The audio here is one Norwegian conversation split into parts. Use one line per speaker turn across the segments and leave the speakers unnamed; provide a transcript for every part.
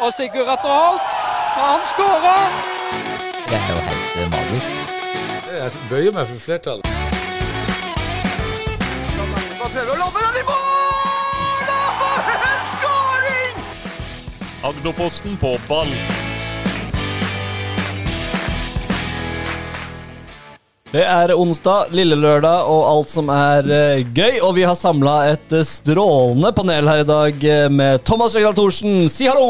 Og Sigurd Atterholt, han skårer!
Det er jo helt eh, magisk.
Jeg bøyer meg for flertallet.
Agderposten på ball.
Det er onsdag, lille lørdag og alt som er eh, gøy. Og vi har samla et eh, strålende panel her i dag eh, med Thomas Jøgdal Thorsen, si hallo!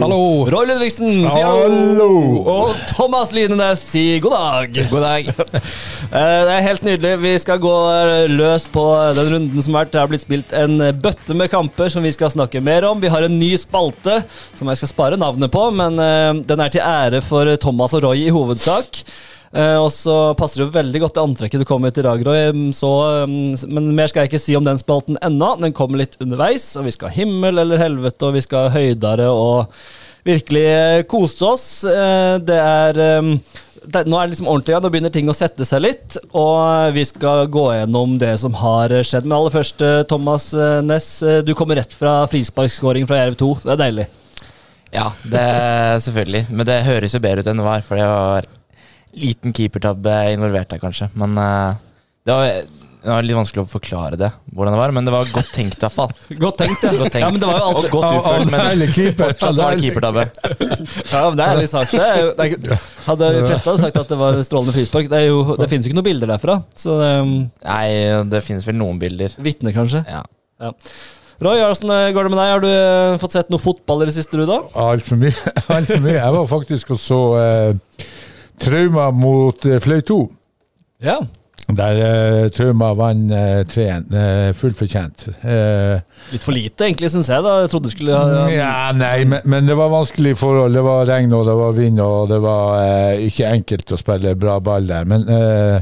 Hallo.
Roy Ludvigsen, si hallo! Og Thomas Linenes, si god dag!
God dag.
Eh, Det er helt nydelig. Vi skal gå eh, løs på den runden som har vært. Det har blitt spilt en eh, bøtte med kamper som vi skal snakke mer om. Vi har en ny spalte som jeg skal spare navnet på, men eh, den er til ære for eh, Thomas og Roy i hovedsak. Eh, og så passer det jo veldig godt det antrekket du kom med i dag, Roy. mm, Så, mm, s- men mer skal jeg ikke si om den spalten ennå. Den kommer litt underveis, og vi skal himmel eller helvete, og vi skal høydere og virkelig eh, kose oss. Eh, Det er eh, det, nå er det liksom ordentlig igjen, nå begynner ting å sette seg litt. Og vi skal gå gjennom det som har skjedd. Men aller først, eh, Thomas eh, Næss, eh, du kommer rett fra frisparkskåring fra Jerv 2. Det er deilig.
Ja, det selvfølgelig. Men det høres jo bedre ut enn det var, for det var liten keepertabbe involvert der, kanskje. Men eh, det, var, det var litt vanskelig å forklare det, hvordan det var. Men det var godt tenkt, iallfall.
Godt tenkt, ja.
Godt tenkt.
ja men det var jo
Og
alltid,
godt utført, men fortsatt var det
Fortsatt
keepertabbe.
ja, men det er ærlig sagt. Det er jo, det er, ikke- hadde de fleste hadde sagt at det var strålende frispark. Det, er jo, det finnes jo ikke noen bilder derfra, så det
Nei, det finnes vel noen bilder.
vitner kanskje.
Ja.
Roy, hvordan eh, går det med deg? Har du eh, fått sett noe fotball i det siste, du, da?
Altfor mye. Alt for mye. Jeg var faktisk og så eh, Trauma mot eh, Fløy 2.
Ja.
Der eh, Trauma vant eh, 3-1. Eh, fullt fortjent. Eh,
Litt for lite, egentlig, syns jeg. da Jeg trodde du skulle ha
ja, nei, men, men det var vanskelige forhold. Det var regn og det var vind, og det var eh, ikke enkelt å spille bra ball der. Men eh,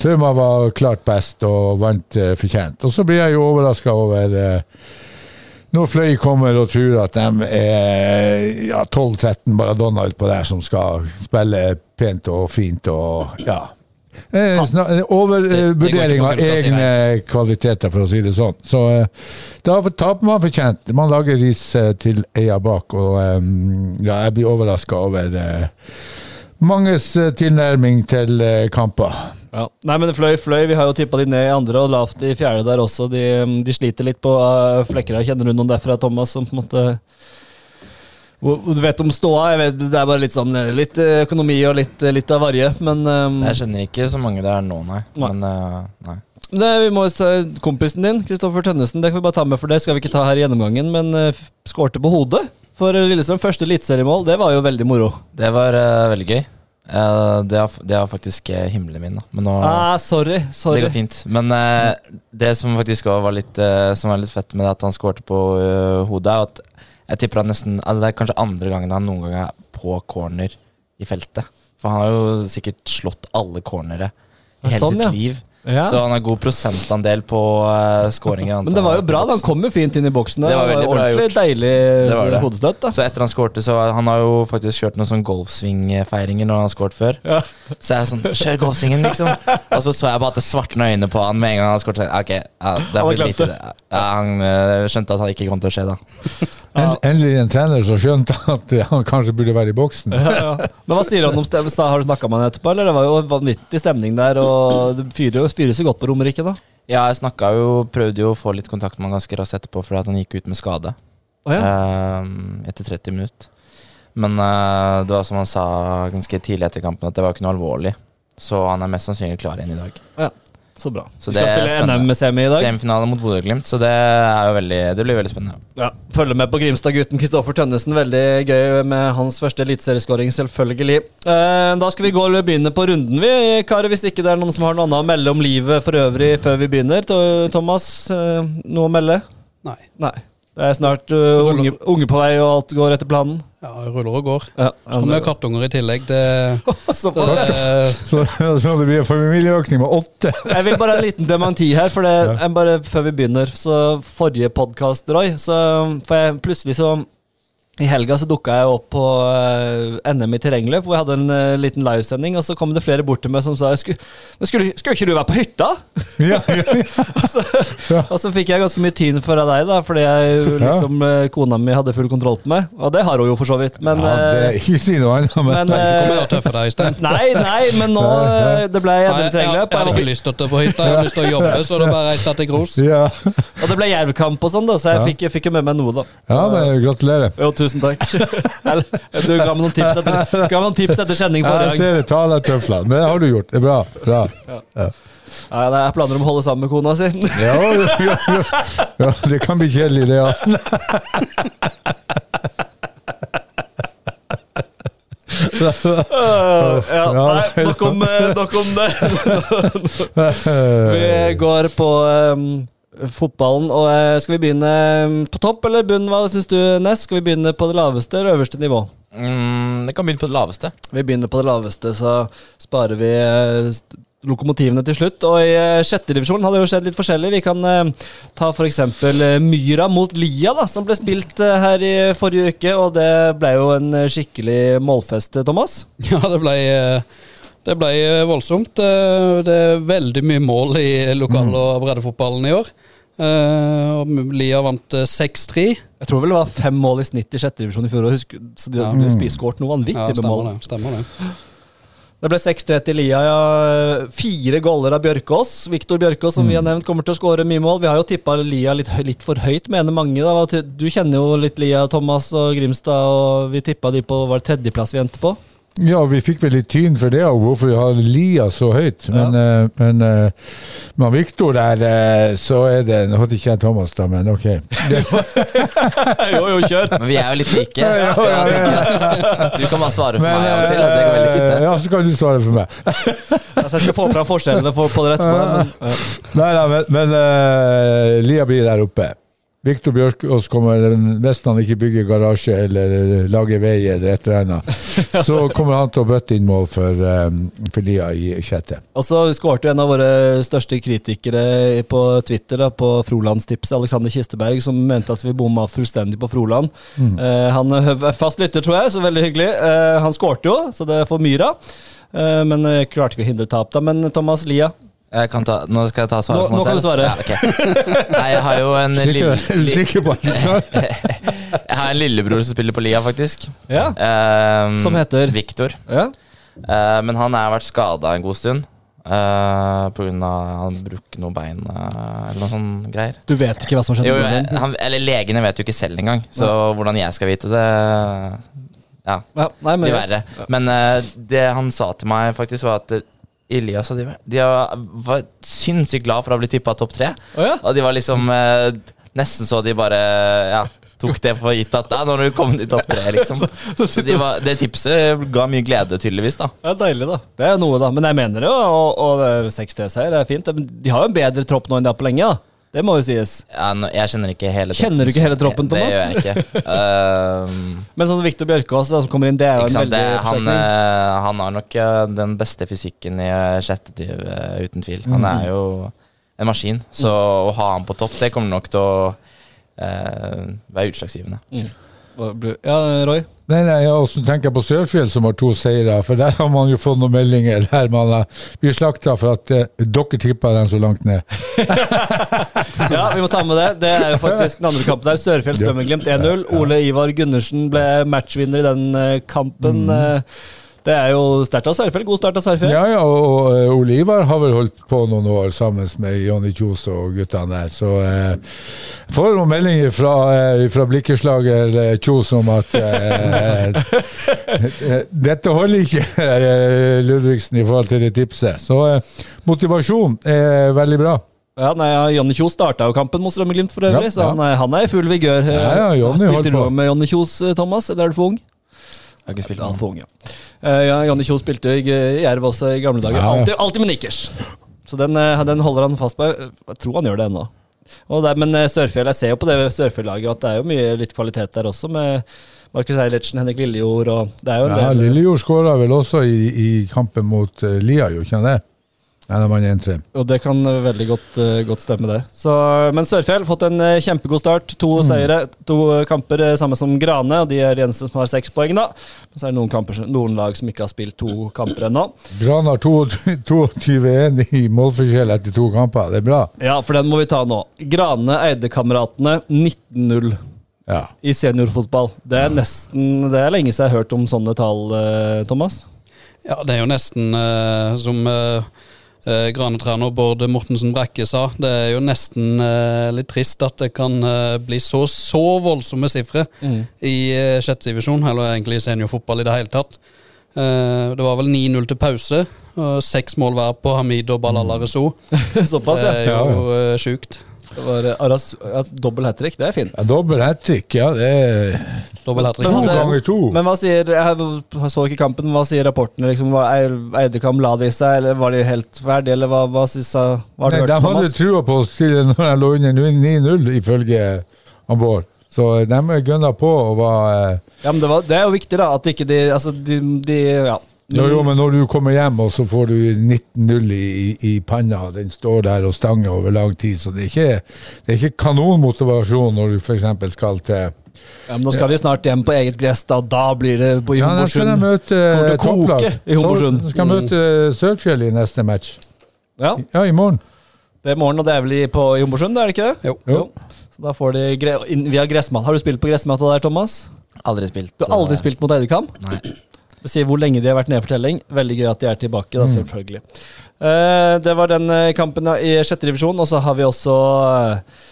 Trauma var klart best og vant eh, fortjent. Og så blir jeg jo overraska over eh, når Fløy kommer og tror at de er ja, 12-13 Maradona utpå der som skal spille pent og fint og ja. Eh, sna-
Det- det går ikke
Overvurdering
på
av
Gustavs
egne kvaliteter, for å si det sånn. Så eh, da taper man fortjent. Man lager ris eh, til eia bak, og eh, ja, jeg blir overraska over eh, manges eh, tilnærming til eh, kamper.
Ja. Nei, men Fløy, Fløy, vi har jo tippa de ned i andre og lavt i fjerde der også. De, de sliter litt på uh, Flekkerøy. Kjenner du noen derfra, Thomas, som på en måte Hvor- hvor Du vet om ståa. Jeg vet, det er bare litt sånn eh, Litt eh, økonomi og litt, eh, litt av varje. Men eh,
Jeg kjenner ikke så mange det er nå, nei.
Nei.
Men eh, nei.
det, vi må ta kompisen din, Kristoffer Tønnesen. Det kan vi bare ta med, for det skal vi ikke ta her i gjennomgangen. Men eh, f- skårte på hodet for Lillestrøm. Første eliteseriemål. Det var jo veldig moro.
Det var eh, veldig gøy. Eh, det, er, det er faktisk eh, himmelen min, da. Men nå
Ah, sorry. sorry.
Det går fint. Men eh, det som faktisk også var litt, eh, som var litt fett med det at han skårte på eh, hodet, er at jeg tipper han nesten altså Det er kanskje andre gangen han noen gang er på corner i feltet. For han har jo sikkert slått alle cornere i
Ja,
hele
sånn,
sitt
ja.
liv.
Ja.
Så han har god prosentandel på uh, skåringer.
Men det var jo bra. da. Han kom jo fint inn i boksen. der.
Det var veldig
jo
bra
ordentlig deilig
Det var det.
hodestøt. da
Så etter han skårte, så var- han har jo faktisk kjørt noen sånn golfsvingfeiringer når han har skåret før. Så jeg er sånn Kjør golfsvingen, liksom. Og så så jeg bare at det svartna øynene på han med en gang han skåret. Ok, ja, det er
Han
for
glemte.
lite. det. Ja, han eh, skjønte at han ikke kom til å skje, da.
En- Endelig en trener som skjønte at eh, han kanskje burde være i boksen.
Men hva sier han om stem- sta- Har du snakka med han etterpå? Eller det var jo vanvittig stemning der, og det fyrer jo fyres jo godt på Romerike, da.
Ja, jeg snakka jo, prøvde jo å få litt kontakt med han ganske raskt etterpå, fordi at han gikk ut med skade
Å ja.
eh, etter 30 minutter. Men eh, det var som han sa ganske tidlig etter kampen, at det var ikke noe alvorlig. Så han er mest sannsynlig klar igjen i dag.
Så bra.
Så
vi skal
det er
spille
spennende.
NM-semi i dag.
Semifinale mot Bodø-Glimt, så det, er jo veldig, det blir veldig spennende.
Ja. Følge med på Grimstad-gutten Kristoffer Tønnesen. Veldig gøy med hans første eliteserieskåring, selvfølgelig. Eh, da skal vi gå og begynne på runden, vi, karer. Hvis ikke det er noen som har noe annet å melde om livet for øvrig før vi begynner. To- Thomas, eh, noe å melde?
Nei.
Nei. Det er snart eh, unge, unge på vei, og alt går etter planen?
Ja, jeg ruller og går.
Ja,
Så har vi jo kattunger i tillegg. Det, det,
Såpass, ja.
Så, så det blir familieøkning med åtte.
Jeg vil bare ha en liten dementi her, for det jeg bare før vi begynner. Så Forrige podkast, Roy, så for jeg, plutselig så I helga så dukka jeg opp på eh, NM i terrengløp, hvor jeg hadde en eh, liten livesending. Og så kom det flere bort til meg som sa «Sku- Men skulle, skulle ikke du være på hytta?
Ja, ja, ja.
og, så, og så fikk jeg ganske mye tyn fra deg, da, fordi jeg, jo
Ja.
liksom, eh, kona mi hadde full kontroll på meg. Og det har hun jo for så vidt. Men,
ja det er
eh,
ikke si noe annet, men,
men eh,
Kommer jeg og tøffer deg i sted?
Nei, nei, men nå
Nei,
eh, Det ble
Nei,
NM i
jeg, jeg,
terrengløp. og jeg
hadde
var
ikke lyst til å ta på hytta, jeg hadde lyst til å jobbe, så da bare reiste jeg til Gros.
ja.
Og det ble jervkamp og sånn, da, så jeg fikk, jeg fikk jo med meg noe, da.
ja, men gratulerer.
Jo, tusen takk. Eller, du ga meg noen tips etter, ga meg noen tips etter sending
Jeg
forrige gang.
ser det taler tøflene, men det har du gjort. Det er bra. bra.
Ja, ja, jeg har planer om å holde sammen med kona si.
Ja, ja, ja, ja, det kan bli kjedelig, det. Ja.
ja, nei, nok om, eh, nok om det. Vi går på eh, fotballen, og eh, skal vi begynne eh, på topp eller bunn? Hva syns du, Ness? Skal vi begynne på det laveste eller øverste nivå?
Mm, det kan begynne på det laveste.
Vi begynner på det laveste, så sparer vi eh, st- lokomotivene til slutt. Og i eh, sjette divisjon har det jo skjedd litt forskjellig. Vi kan eh, ta f.eks. Myra mot Lia, da, som ble spilt eh, her i forrige uke. Og det ble jo en eh, skikkelig målfest, eh, Thomas.
Ja, det ble, eh, det ble eh, voldsomt. Eh, Det er veldig mye mål i lokal- og breddefotballen i år. Eh, Og Lia vant eh, 6-3.
Jeg tror vel det var fem mål i snitt i sjette divisjon i fjor. og husk- Så de hadde spisskåret noe
Mm.
vanvittig
Ja,
med
stemmer
mål.
det. Stemmer det.
Det ble 6-3 til Lia. Ja. Fire goller av Bjørkås. Viktor Bjørkås, som vi har nevnt, kommer til å skåre mye mål. Vi har jo tippa Lia litt, hø- litt for høyt, mener mange. Da. Hva ty- Du kjenner jo litt Lia, Thomas og Grimstad, og vi tippa de på var det tredjeplass vi endte på.
Ja, vi fikk vel litt tyn for det, og hvorfor vi har lia så høyt. Men, eh, men eh, med Viktor der, eh, så er det Nå hadde ikke jeg Thomas, da, men ok.
jo, jo, kjør!
Men vi er jo litt like.
ja,
så
ja,
Du kan bare svare for
Men,
meg av og til. og Det går veldig fint,
eh,
det.
ja, så kan du svare for meg.
Altså, jeg skal få fram forskjellene for, på det etterpå. Men, ja.
Nei da, men, men eh, lia blir der oppe. Viktor Bjørkås kommer, hvis han ikke bygger garasje eller eh, lager vei eller et eller annet, så kommer han til å bøtte inn mål for, eh, for lia i sjette.
Og så skårte jo en av våre største kritikere på Twitter, da, på Frolandstipset, Alexander Kisteberg, som mente at vi bomma fullstendig på Froland. Eh, han er fast lytter, tror jeg, så veldig hyggelig. Eh, han skårte jo, så det får Myra. Eh, men eh, klarte ikke å hindre tap, da. Men eh, Thomas Lia
Jeg kan ta, nå skal jeg ta
Nå-
svaret for
nå
meg
kan du
selv.
svare.
Ja, ok. Nei, jeg har jo en,
Sikker,
lille,
er du sikker på at du klarer?
jeg har en lillebror som spiller på Lia, faktisk.
Ja.
Ehm,
Som heter?
Victor.
ja.
Eh, men han har vært skada en god stund. Uh, på grunn av han bruker noe bein eh, eller noe sånn greier.
Du vet ikke hva som skjedde?
Jo, jo,
med
jeg,
den.
han, eller legene vet jo ikke selv engang, så hvordan jeg skal vite det Ja,
ja, nei, men
blir verre. Men eh, det han sa til meg, faktisk, var at eh, Elias og de, var- de var var sinnssykt glad for å bli tippa topp tre.
Å ja.
Og de var liksom eh, Nesten så de bare ja, tok det for gitt at ja, Nå har du kommet i topp tre, liksom. Så de var, det tipset ga mye glede, tydeligvis. da
Det er deilig, da. Det er noe, da. Men jeg mener det, og, og det er 6-3-seier er fint. Men de har jo en bedre tropp nå enn de har på lenge, da. Det må jo sies.
ja, nå- Jeg kjenner ikke hele troppen.
Kjenner du ikke hele
så-
troppen, Thomas?
Det gjør jeg ikke. Eh,
Men sånn Viktor Bjørkås da, som kommer inn, det er
Ikke
jo en
sant? Det,
veldig
han,
forsterkning.
eh, han har nok eh, den beste fysikken i eh, sjette div, eh, uten tvil. Han er jo en maskin, så å ha han på topp, det kommer nok til å eh, være utslagsgivende.
Hva blir- Ja, Roy?
Nei, nei, jeg også tenker på Sørfjell som har to seire, for der har man jo fått noen meldinger der man har- blir slakta for at eh, dere tippa dem så langt ned.
Ja, vi må ta med det. Det er jo faktisk den andre kampen der. Sørfjell Strømmeglimt 1-0. Ole Ivar Gundersen ble matchvinner i den eh, kampen. Eh, Det er jo sterkt av Sørfjell. God start av Sørfjell.
Ja, ja, og, og eh, Ole Ivar har vel holdt på noen år sammen med Jonny Kjos og guttene der, så eh, får noen meldinger fra, eh, fra blikkeslager eh, Kjos om at eh, eh, dette holder ikke, eh, Ludvigsen, i forhold til det tipset. Så eh, motivasjon er veldig bra.
Ja, nei, ja, Jonny Kjos starta jo kampen mot Strømmeglimt for øvrig,
Ja,
så han er, han er i full vigør. Eh,
Ja, ja, Jonny holdt
Spilte du
på.
med Jonny Kjos, eh, Thomas, eller er du for ung?
Jeg har ikke spilt
Ja,
noen.
for ung, ja. Eh, ja Jonny Kjos spilte i eh, Jerv også i gamle dager.
Ja, ja.
Alltid, alltid med nikkers! Så den, eh, den holder han fast på. Jeg tror han gjør det ennå. Og det, er- men eh, Sørfjell, jeg ser jo på det Sørfjell-laget at det er jo mye litt kvalitet der også, med Markus Eilertsen, Henrik Lillejord og Det er jo en
Ja,
del
Lillejord skåra vel også i, i kampen mot eh, Lia, jo ikke han det? Nei, de vant 1-3.
Og det kan eh, veldig godt, eh, godt stemme, det. Så, men Sørfjell fått en eh, kjempegod start. To seire, to eh, kamper, eh, samme som Grane. Og de er de eneste som har seks poeng, da. Men så er det noen, kamper, som- noen lag som ikke har spilt to kamper ennå.
Brann har 22-1 i målforskjell etter to kamper. Det er bra.
Ja, for den må vi ta nå. Grane Eidekameratene 19-0
Ja.
i seniorfotball. Det er nesten Det er lenge siden jeg har hørt om sånne tall, eh, Thomas.
Ja, det er jo nesten eh, som eh, eh, Granetrener Bård Mortensen Brekke sa, det er jo nesten eh, litt trist at det kan eh, bli så, så voldsomme sifre
Mm.
i eh, sjette divisjon, eller egentlig i seniorfotball i det hele tatt. Eh, det var vel 9-0 til pause, og seks mål hver på Hamid og Balala Rezo. Det
Såpass, ja.
er
Mm. Ja,
jo eh, sjukt.
Det var eh, Aras, ja, Dobbel hat trick, det er fint.
Ja, Dobbel hat trick, ja. Det er
Dobbel hat
to
Men hadde-
ganger to.
Men hva sier Jeg så ikke kampen, men hva sier rapportene? Liksom, var Ei- Eidekam la de seg, eller var de helt ferdige, eller hva, hva, synes, jeg- hva har du
Nei, de
hørt,
hadde
Thomas?
trua på å stille når de lå under 9-0, ifølge han Bård. Så eh, de gønna på og var eh,
Ja, men det, var, det er jo viktig, da, at ikke de Altså, de, de Ja.
Jo, jo, men når du kommer hjem, og så får du 19-0 i, i- i panna, den står der og stanger over lang tid, så det er ikke, det er ikke kanonmotivasjon når du f.eks. skal til
Ja, men nå skal de snart hjem på eget gress, da. Da blir det på
Ja, der skal de
Jomborsund.
møte
Kommer til å
eh, topplag.
koke i Homborsund.
Så skal de møte eh, Sørfjell i neste match.
Ja,
Ja, i morgen.
det er i morgen, og det er vel i- på Jomborsund, er det ikke det?
Jo.
Jo.
Så da får de gre inn via gressmatta. Har du spilt på gressmatta der, Thomas?
Aldri spilt.
Du har aldri
eh,
spilt mot Eidekam?
Nei.
Det sier hvor lenge de har vært nede for telling. Veldig gøy at de er tilbake, da, selvfølgelig. Eh, det var den eh, kampen da i sjette divisjon, og så har vi også eh,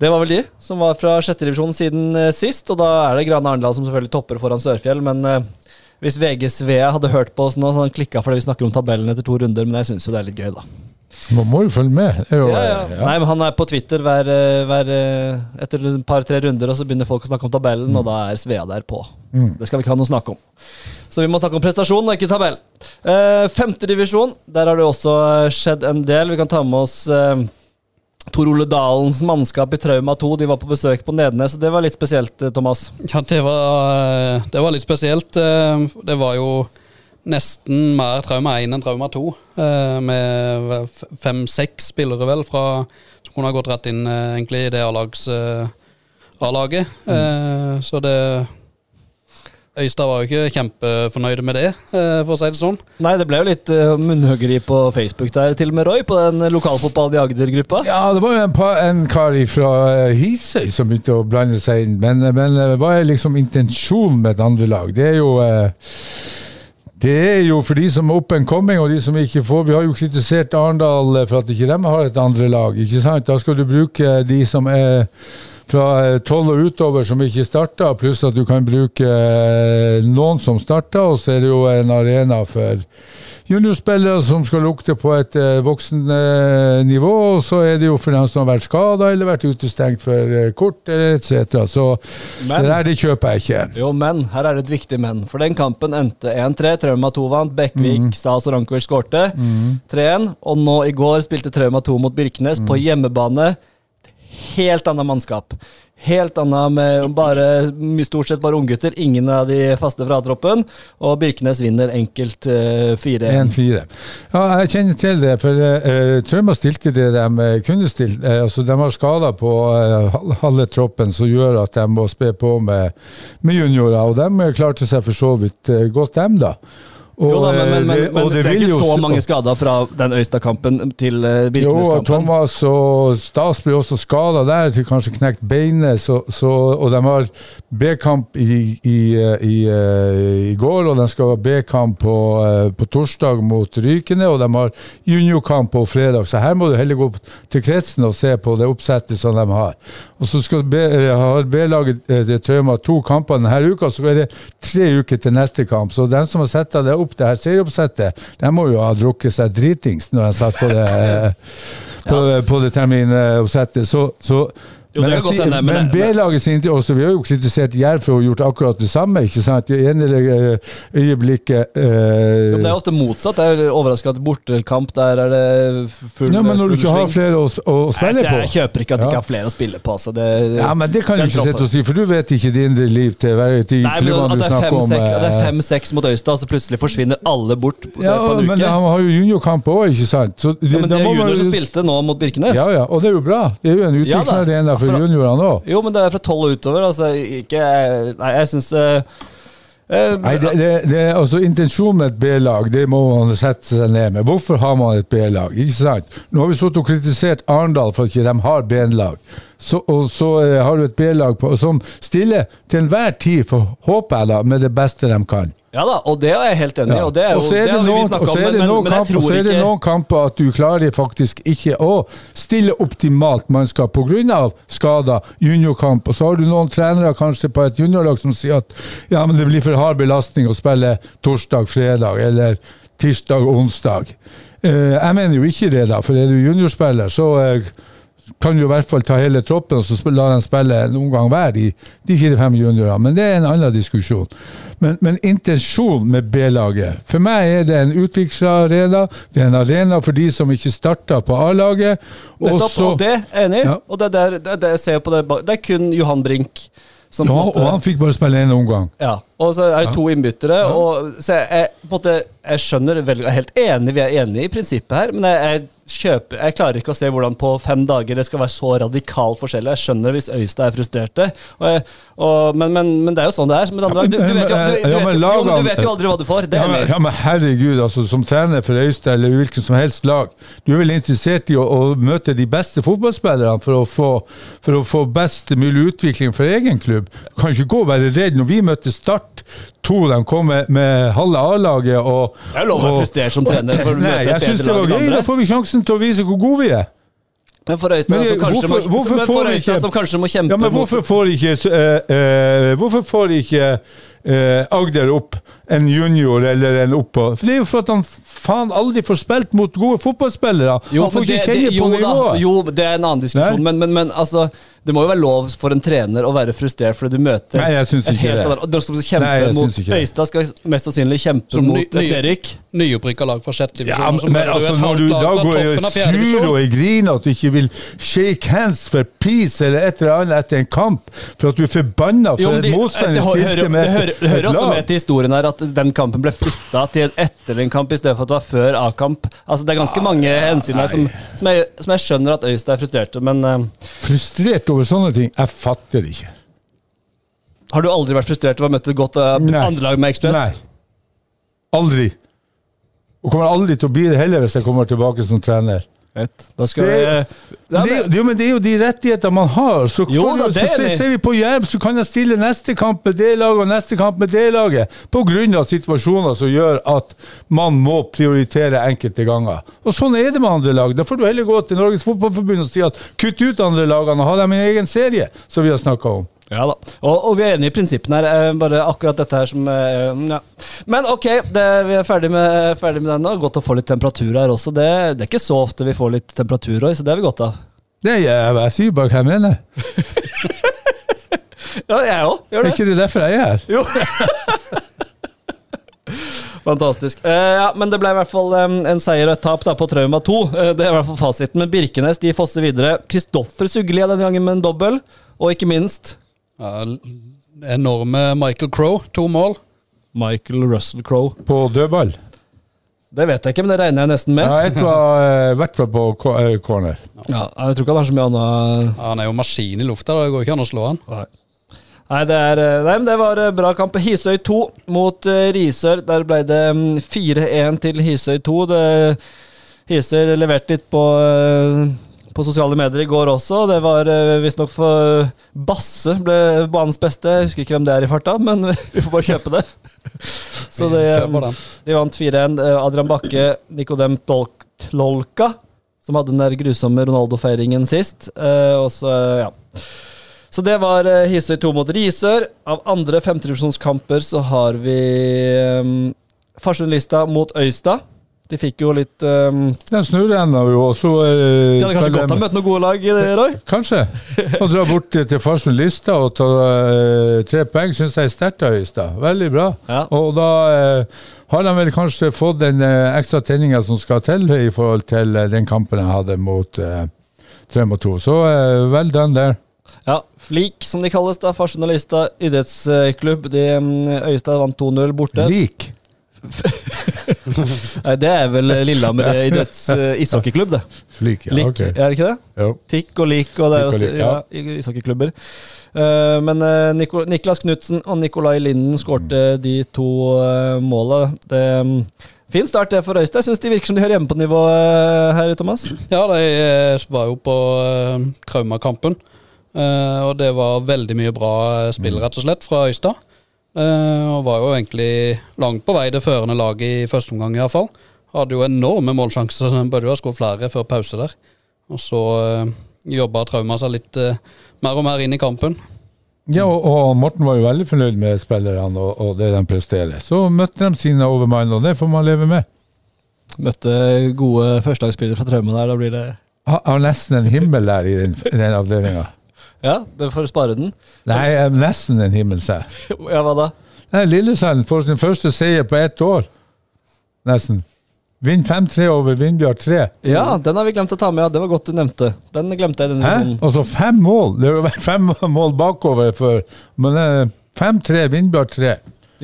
Det var vel de som var fra sjette divisjon siden eh, sist, og da er det Grane Arendal som selvfølgelig topper foran Sørfjell, men eh, hvis VG Svea hadde hørt på oss nå, så hadde han klikka fordi vi snakker om tabellen etter to runder, men jeg syns jo det er litt gøy, da.
Man må jo følge med. Det er jo,
Ja, ja.
eh,
Nei, men han er på Twitter hver, eh, hver, eh, etter et par-tre runder, og så begynner folk å snakke om tabellen, og da er Svea der på. Det skal vi ikke ha noe å snakke om. Så vi må snakke om prestasjon, og ikke tabell. Eh, femte divisjon, der har det også eh, skjedd en del. Vi kan ta med oss eh, Tor Ole Dalens mannskap i Trauma 2. De var på besøk på Nednes, og det var litt spesielt, eh, Thomas.
Ja, det var, eh, det var litt spesielt. eh, Det var jo nesten mer trauma 1 enn trauma 2. Med fem-seks spillere, vel, fra, som kunne ha gått rett inn eh, egentlig i det A-lags, eh, A-laget.
Mm.
Eh, Så det Øystad var jo ikke kjempefornøyd med det, eh, for å si det sånn.
Nei, det ble jo litt eh, munnhuggeri på Facebook der, til og med Roy, på den lokalfotballen i Agder-gruppa.
Ja, det var jo en, par, en kar fra eh, Hisøy som begynte å blande seg inn. Men, men eh, hva er liksom intensjonen med et andre lag? Det er jo eh, det er jo for de som er opp and coming, og de som ikke får. Vi har jo kritisert Arendal eh, for at ikke de har et andre lag. ikke sant? Da skal du bruke eh, de som er fra eh, tolv og utover som ikke starta, pluss at du kan bruke eh, noen som starta, og så er det jo en arena for juniorspillere som skal lukte på et eh, voksen eh, nivå, og så er det jo for dem som har vært skada eller vært utestengt for eh, kort etc. Så
Men-
det der det kjøper jeg ikke.
Jo, men her er det et viktig men. For den kampen endte 1-3. Trauma 2 vant. Bekkvik,
Mm.
Stas og Rankovic skårte. 3-1. Og nå i går spilte Trauma 2 mot Birkenes på
Mm.
hjemmebane. Helt annet mannskap. Helt annet med bare, my- stort sett bare unggutter. Ingen av de faste fra troppen. Og Birkenes vinner enkelt eh, 4-1.
1-4. Ja, jeg kjenner til det, for uh, Trauma stilte det de eh, kunne stilt. Eh, altså, de har skader på eh, hal- halve troppen som gjør at de må spe på med, med juniorer, og de eh, klarte seg for så vidt eh, godt, dem da. Og,
Jo da, men, men, men,
eh,
men det, er
vil
ikke
jo
så
s-
mange skader fra den Øystad-kampen til
jo,
eh,
og
Birkenes-kampen.
Thomas og Stas ble også skada der, til kanskje knekt beinet. Så, så, og de har B-kamp i, i, eh, i, eh, i går, og de skal ha B-kamp på, eh, på torsdag mot Rykene. Og de har juniorkamp på fredag, så her må du heller gå opp til kretsen og se på det oppsettet som de har. Og så skal B, eh, har B-laget eh, det Trauma to kamper denne uka, så er det tre uker til neste kamp. Så den som har satt det opp, det her serieoppsettet, de må jo ha drukket seg dritings når de satt på det. eh, på, på det terminoppsettet. Så, så
Jo, det
men
kan
jeg
godt
sier-
hende, men-
men B-laget sin også, Vi har jo kritisert Jerv for å ha gjort akkurat det samme. ikke sant? I ene øye- øyeblikket eh,
Men det er ofte motsatt. Jeg er overraska at bortekamp, der er det full
ja, Men når du
full
ikke har
sving.
flere å, s- å
Nei,
spille på
Jeg kjøper ikke at de
Ja.
ikke har flere å spille på. Altså. Det,
Ja, men Det kan du
den
ikke sitte
troppen.
og si, for du vet ikke det indre liv til, hver- til
Nei, men
klubbene
at
du
det er
snakker om. eh,
fem-seks mot Øystad, så plutselig forsvinner alle bort på,
ja,
på en uke.
men han har jo juniorkamp òg, ikke sant? Så
ja, men
da
det er
må man
junior
jo-
som spilte nå mot Birkenes.
Ja, ja, og det er jo bra. Det er jo en
Ja da.
utviklingsarena for
For-
juniorene òg.
Jo, men det er fra tolv og utover. Altså, ikke Nei, jeg eh, syns Eh,
Nei, det, det, det er altså Intensjonen med et B-lag det må man sette seg ned med. Hvorfor har man et B-lag? ikke sant? Nå har vi sittet og kritisert Arendal for at ikke de har B-lag. Så, og så eh, har du et B-lag på- som stiller til enhver tid, for, håper jeg, da, med det beste de kan.
Ja da, og det er jeg helt enig i.
Ja.
Og det er jo
Og så er
det
det
har vi
noen,
snakket
og så er
om,
det
men,
noen
men jeg
kamp- og
tror
så er det
ikke
noen kamper at du klarer faktisk ikke å stille optimalt mannskap pga. skader, juniorkamp. Og så har du noen trenere kanskje på et juniorlag som sier at ja, men det blir for hard belastning å spille torsdag, fredag eller tirsdag, onsdag. Eh, jeg mener jo ikke det, da, for er du juniorspiller, så eh, kan du i hvert fall ta hele troppen og så sp- la dem spille en omgang hver, de, de fire-fem juniorene. Men det er en annen diskusjon. Men, men intensjonen med B-laget For meg er det en utviklingsarena. Det er en arena for de som ikke starta på A-laget. og
Nettopp,
så-
og det er jeg enig i.
Ja.
Og det, er der- det, er der jeg ser på det, ba- det er kun Johan Brink som
ja,
på en måte-
og han fikk bare spille én omgang.
Ja, og så er det to innbyttere. Og, så jeg, jeg, på en måte, jeg skjønner veldig, Jeg er helt enig, vi er enige i prinsippet her, men jeg, jeg, kjøper, jeg klarer ikke å se hvordan på fem dager det skal være så radikal forskjell. Jeg skjønner hvis Øystad er frustrerte, og jeg, og, men, men, men det er jo sånn det er. Men, andre,
Ja, men-
du, du, vet jo, du, du,
ja, men
vet, jo- jo, men du
lagene-
vet jo aldri hva du får.
Ja
Det
men,
er jeg enig i.
ja, men herregud, altså, som trener for Øystad eller hvilken som helst lag, du er vel interessert i å, å møte de beste fotballspillerne for å, få, for å få best mulig utvikling for egen klubb? Du kan ikke gå og være redd. Når vi møtte Start 2, de kom med, med halve A-laget og
Det er jo lov å være
og-
frustrert som trener for å
Nei,
møte et
jeg syns
bedre
det
lag
var
enn
gøy.
andre.
Da får vi sjansen til å vise hvor gode vi er.
Men for Øystad,
Men
som, kanskje
hvorfor-
må,
hvorfor
men
får
for
vi
Øystad
ikke-
som kanskje må kjempe
Ja, men hvorfor
mot
får ikke, eh, eh, hvorfor får ikke eh, Agder opp en junior eller en oppå? For det er jo for at han faen aldri får spilt mot gode fotballspillere. han får
men
ikke
det-
kjenne
det-
på
jo da,
nivået.
Jo, det er en annen diskusjon,
Nei.
men, men, men altså, det må jo være lov for en trener å være frustrert fordi du møter
Nei, jeg syns
et
ikke
helt
det.
annet- Og de som skal kjempe
Nei, jeg
mot
syns ikke det.
Øystad skal mest sannsynlig kjempe
Som
mot
ny-
et
ny-
Erik.
Nyopprykka lag fra sjette divisjon.
Ja,
og så
men
møter du
altså,
et
når
halvt
du
lag
da
fra
går jeg
toppen
og
av fjerde divisjon.
sur og jeg griner at du ikke vil shake hands for peace eller et eller annet etter en kamp, for at du er forbanna for
Jo, men
at
de- det
motstander
hø-
stilte
hører-
med
det hører,
et,
det hører
et
også med
lag.
til historien her at den kampen ble flytta til en etter en kamp i stedet for at det var før A-kamp. Altså, det er ganske mange hensyn her som, som, jeg, som jeg skjønner at Øystad er frustrerte, men eh,
Frustrert over sånne ting. Jeg fatter det ikke.
har du aldri vært frustrert over å møte et godt eh,
Nei.
andre lag med Express?
Nei. Aldri. Og kommer aldri til å bli det heller hvis jeg kommer tilbake som trener.
Da skal
Det-
jeg- Ja,
Men det, er jo- det, er jo- men det er jo de rettigheter man har. Så,
Jo
får
da,
du-
det
så
er
ser-
det.
ser vi på Jerv, så kan jeg stille neste kamp med det laget og neste kamp med det laget. På grunn av situasjoner som gjør at man må prioritere enkelte ganger. Og sånn er det med andre lag. Da får du heller gå til Norges Fotballforbund og si at kutt ut andre lagene og ha dem i en egen serie, som vi har snakka om.
Ja da. Og, og vi er enige i prinsippene her. eh, Bare akkurat dette her som eh, ja. Men ok, det, vi er ferdig med, ferdig med den nå. Godt å få litt temperatur her også. Det, det er ikke så ofte vi får litt temperatur, Roy, så det er vi godt av.
Nei, jeg, jeg, jeg sier bare hva jeg mener.
Ja, jeg òg.
Er
Gjør det.
ikke det derfor jeg er her?
Jo. Fantastisk. Eh, ja, men det ble i hvert fall eh, en seier og et tap da, på Trauma 2. Eh, det er i hvert fall fasiten. Men Birkenes de fosser videre. Kristoffer Sugli er denne gangen med en dobbel. Og ikke minst
Ja, l- enorme Michael Crowe, to mål.
Michael Russell Crowe.
På dødball.
Det vet jeg ikke, men det regner jeg nesten med.
Ja, ett var i hvert fall på ko- eh, corner.
Ja, jeg tror ikke han har så mye annet
Ja, han er jo maskin i lufta, det går ikke an å slå han.
Nei, det, er, nei, men det var eh, bra kamp. Hisøy 2 mot eh, Risør. Der ble det mm, 4-1 til Hisøy 2. Det, Hisøy leverte litt på, eh, på sosiale medier i går også. Det var eh, visstnok for Basse ble banens beste. Jeg husker ikke hvem det er i farta, men vi får bare kjøpe det. Så det, eh,
Kjøper den.
de vant 4-1. Eh, Adrian Bakke, Nikodem Tolk- Tlolka, som hadde den der grusomme Ronaldo-feiringen sist. Eh, og så, eh, ja. Så det var eh, Hisøy 2 mot Risør. Av andre femtedivisjonskamper så har vi eh, Farsundlista mot Øystad. De fikk jo litt ehm,
Den snurrenna jo, og så eh,
De hadde kanskje godt av å møte noen gode lag, eh, Roy?
Kanskje. Å dra bort eh, til Farsund Lista og ta eh, tre poeng syns jeg er sterkt av Øystad. Veldig bra.
Ja.
Og da eh, har de vel kanskje fått den eh, ekstra tenninga som skal til i forhold til eh, den kampen de hadde mot eh, Trøm og to. Så eh, vel done der.
Ja, Flik, som de kalles. da, Farsund og Lista idrettsklubb. De, mm, Øystad vant 2-0 borte.
Lik.
Nei, Det er vel Lillehammer idretts eh, ishockeyklubb, det.
Flik, ja.
Lik,
ok.
er det ikke det?
Jo.
Tikk og lik, og det er jo
Tikk og lik,
st- ja, i- ishockeyklubber. Eh, men eh, Niko, Niklas Knutsen og Nikolai Linden skårte de to eh, måla. Det, mm, fin start det for Øystad. Jeg syns de virker som de hører hjemme på nivå eh, her, Thomas.
Ja, de eh, var jo på eh, traumakampen. Eh, og det var veldig mye bra eh, spill, rett og slett, fra Øystad. Eh, og var jo egentlig langt på vei det førende laget i første omgang, iallfall. Hadde jo enorme målsjanser, så de burde jo ha skåret flere før pause der. Og så eh, jobba trauma seg litt eh, mer og mer inn i kampen.
Ja, og, og Morten var jo veldig fornøyd med spillerne og, og det de presterer. Så møtte de sine overmann, og det får man leve med.
Møtte gode førstelagsspillere fra Traume der. Da blir det
Har har nesten en himmel der i den, i den avdelinga.
Ja, det får spare den.
Nei, eh, nesten en himmel, sa jeg.
Ja, hva da?
Nei, Lillesand får sin første seier på ett år. Nesten. Vinner 5-3 over Vindbjørn 3.
Ja, den har vi glemt å ta med. Ja, det var godt du nevnte. Den glemte jeg. denne
Hæ?
episoden.
Og så fem mål! Det har jo vært fem mål bakover før. Men eh, 5-3, Vindbjørn 3.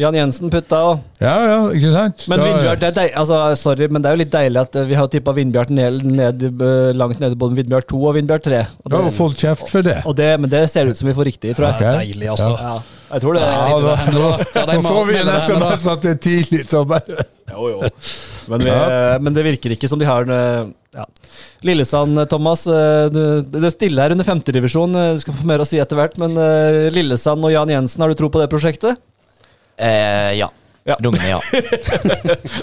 Jan Jensen putta òg.
Ja, ja, ikke sant?
Men
Da-
Vindbjart, det er deil, altså, sorry, men det er jo litt deilig at eh, vi har tippa Vindbjart ned, ned, eh, langt nede både Vindbjart 2 og Vindbjart 3. Og
Du
det,
har jo fått kjeft for det.
og det, men det ser ut som vi får riktig, tror jeg.
Ok.
Deilig, altså.
Ja, jeg tror det.
Ja, da, nå,
de
nå får vi en
melder det her, da.
SMS at det er tidlig, så bare
Men, vi, eh,
Ja.
men det virker ikke som de har en eh, ja. Lillesand, eh, Thomas. eh, Du, du er stille her under femtedivisjon. eh, Du skal få mer å si etter hvert. Men eh, Lillesand og Jan Jensen, har du tro på det prosjektet?
Eh, ja.
Ja.
Rungende ja.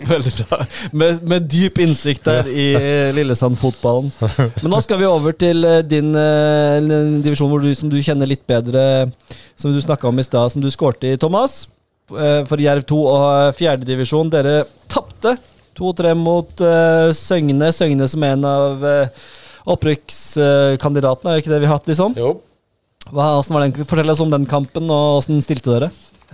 Veldig bra. Med, med dyp innsikt der i eh, Lillesand-fotballen. Men nå skal vi over til eh, din eh, l- divisjon hvor du, som du kjenner litt bedre, som du snakka om i stad, som du skårte i, Thomas. Eh, For Jerv 2 og fjerdedivisjon, dere tapte 2-3 mot eh, Søgne. Søgne som en av eh, opprykkskandidatene, er det ikke det vi har hatt, liksom?
Jo.
Hva, hvordan var den, fortell oss om den kampen, og åssen stilte dere?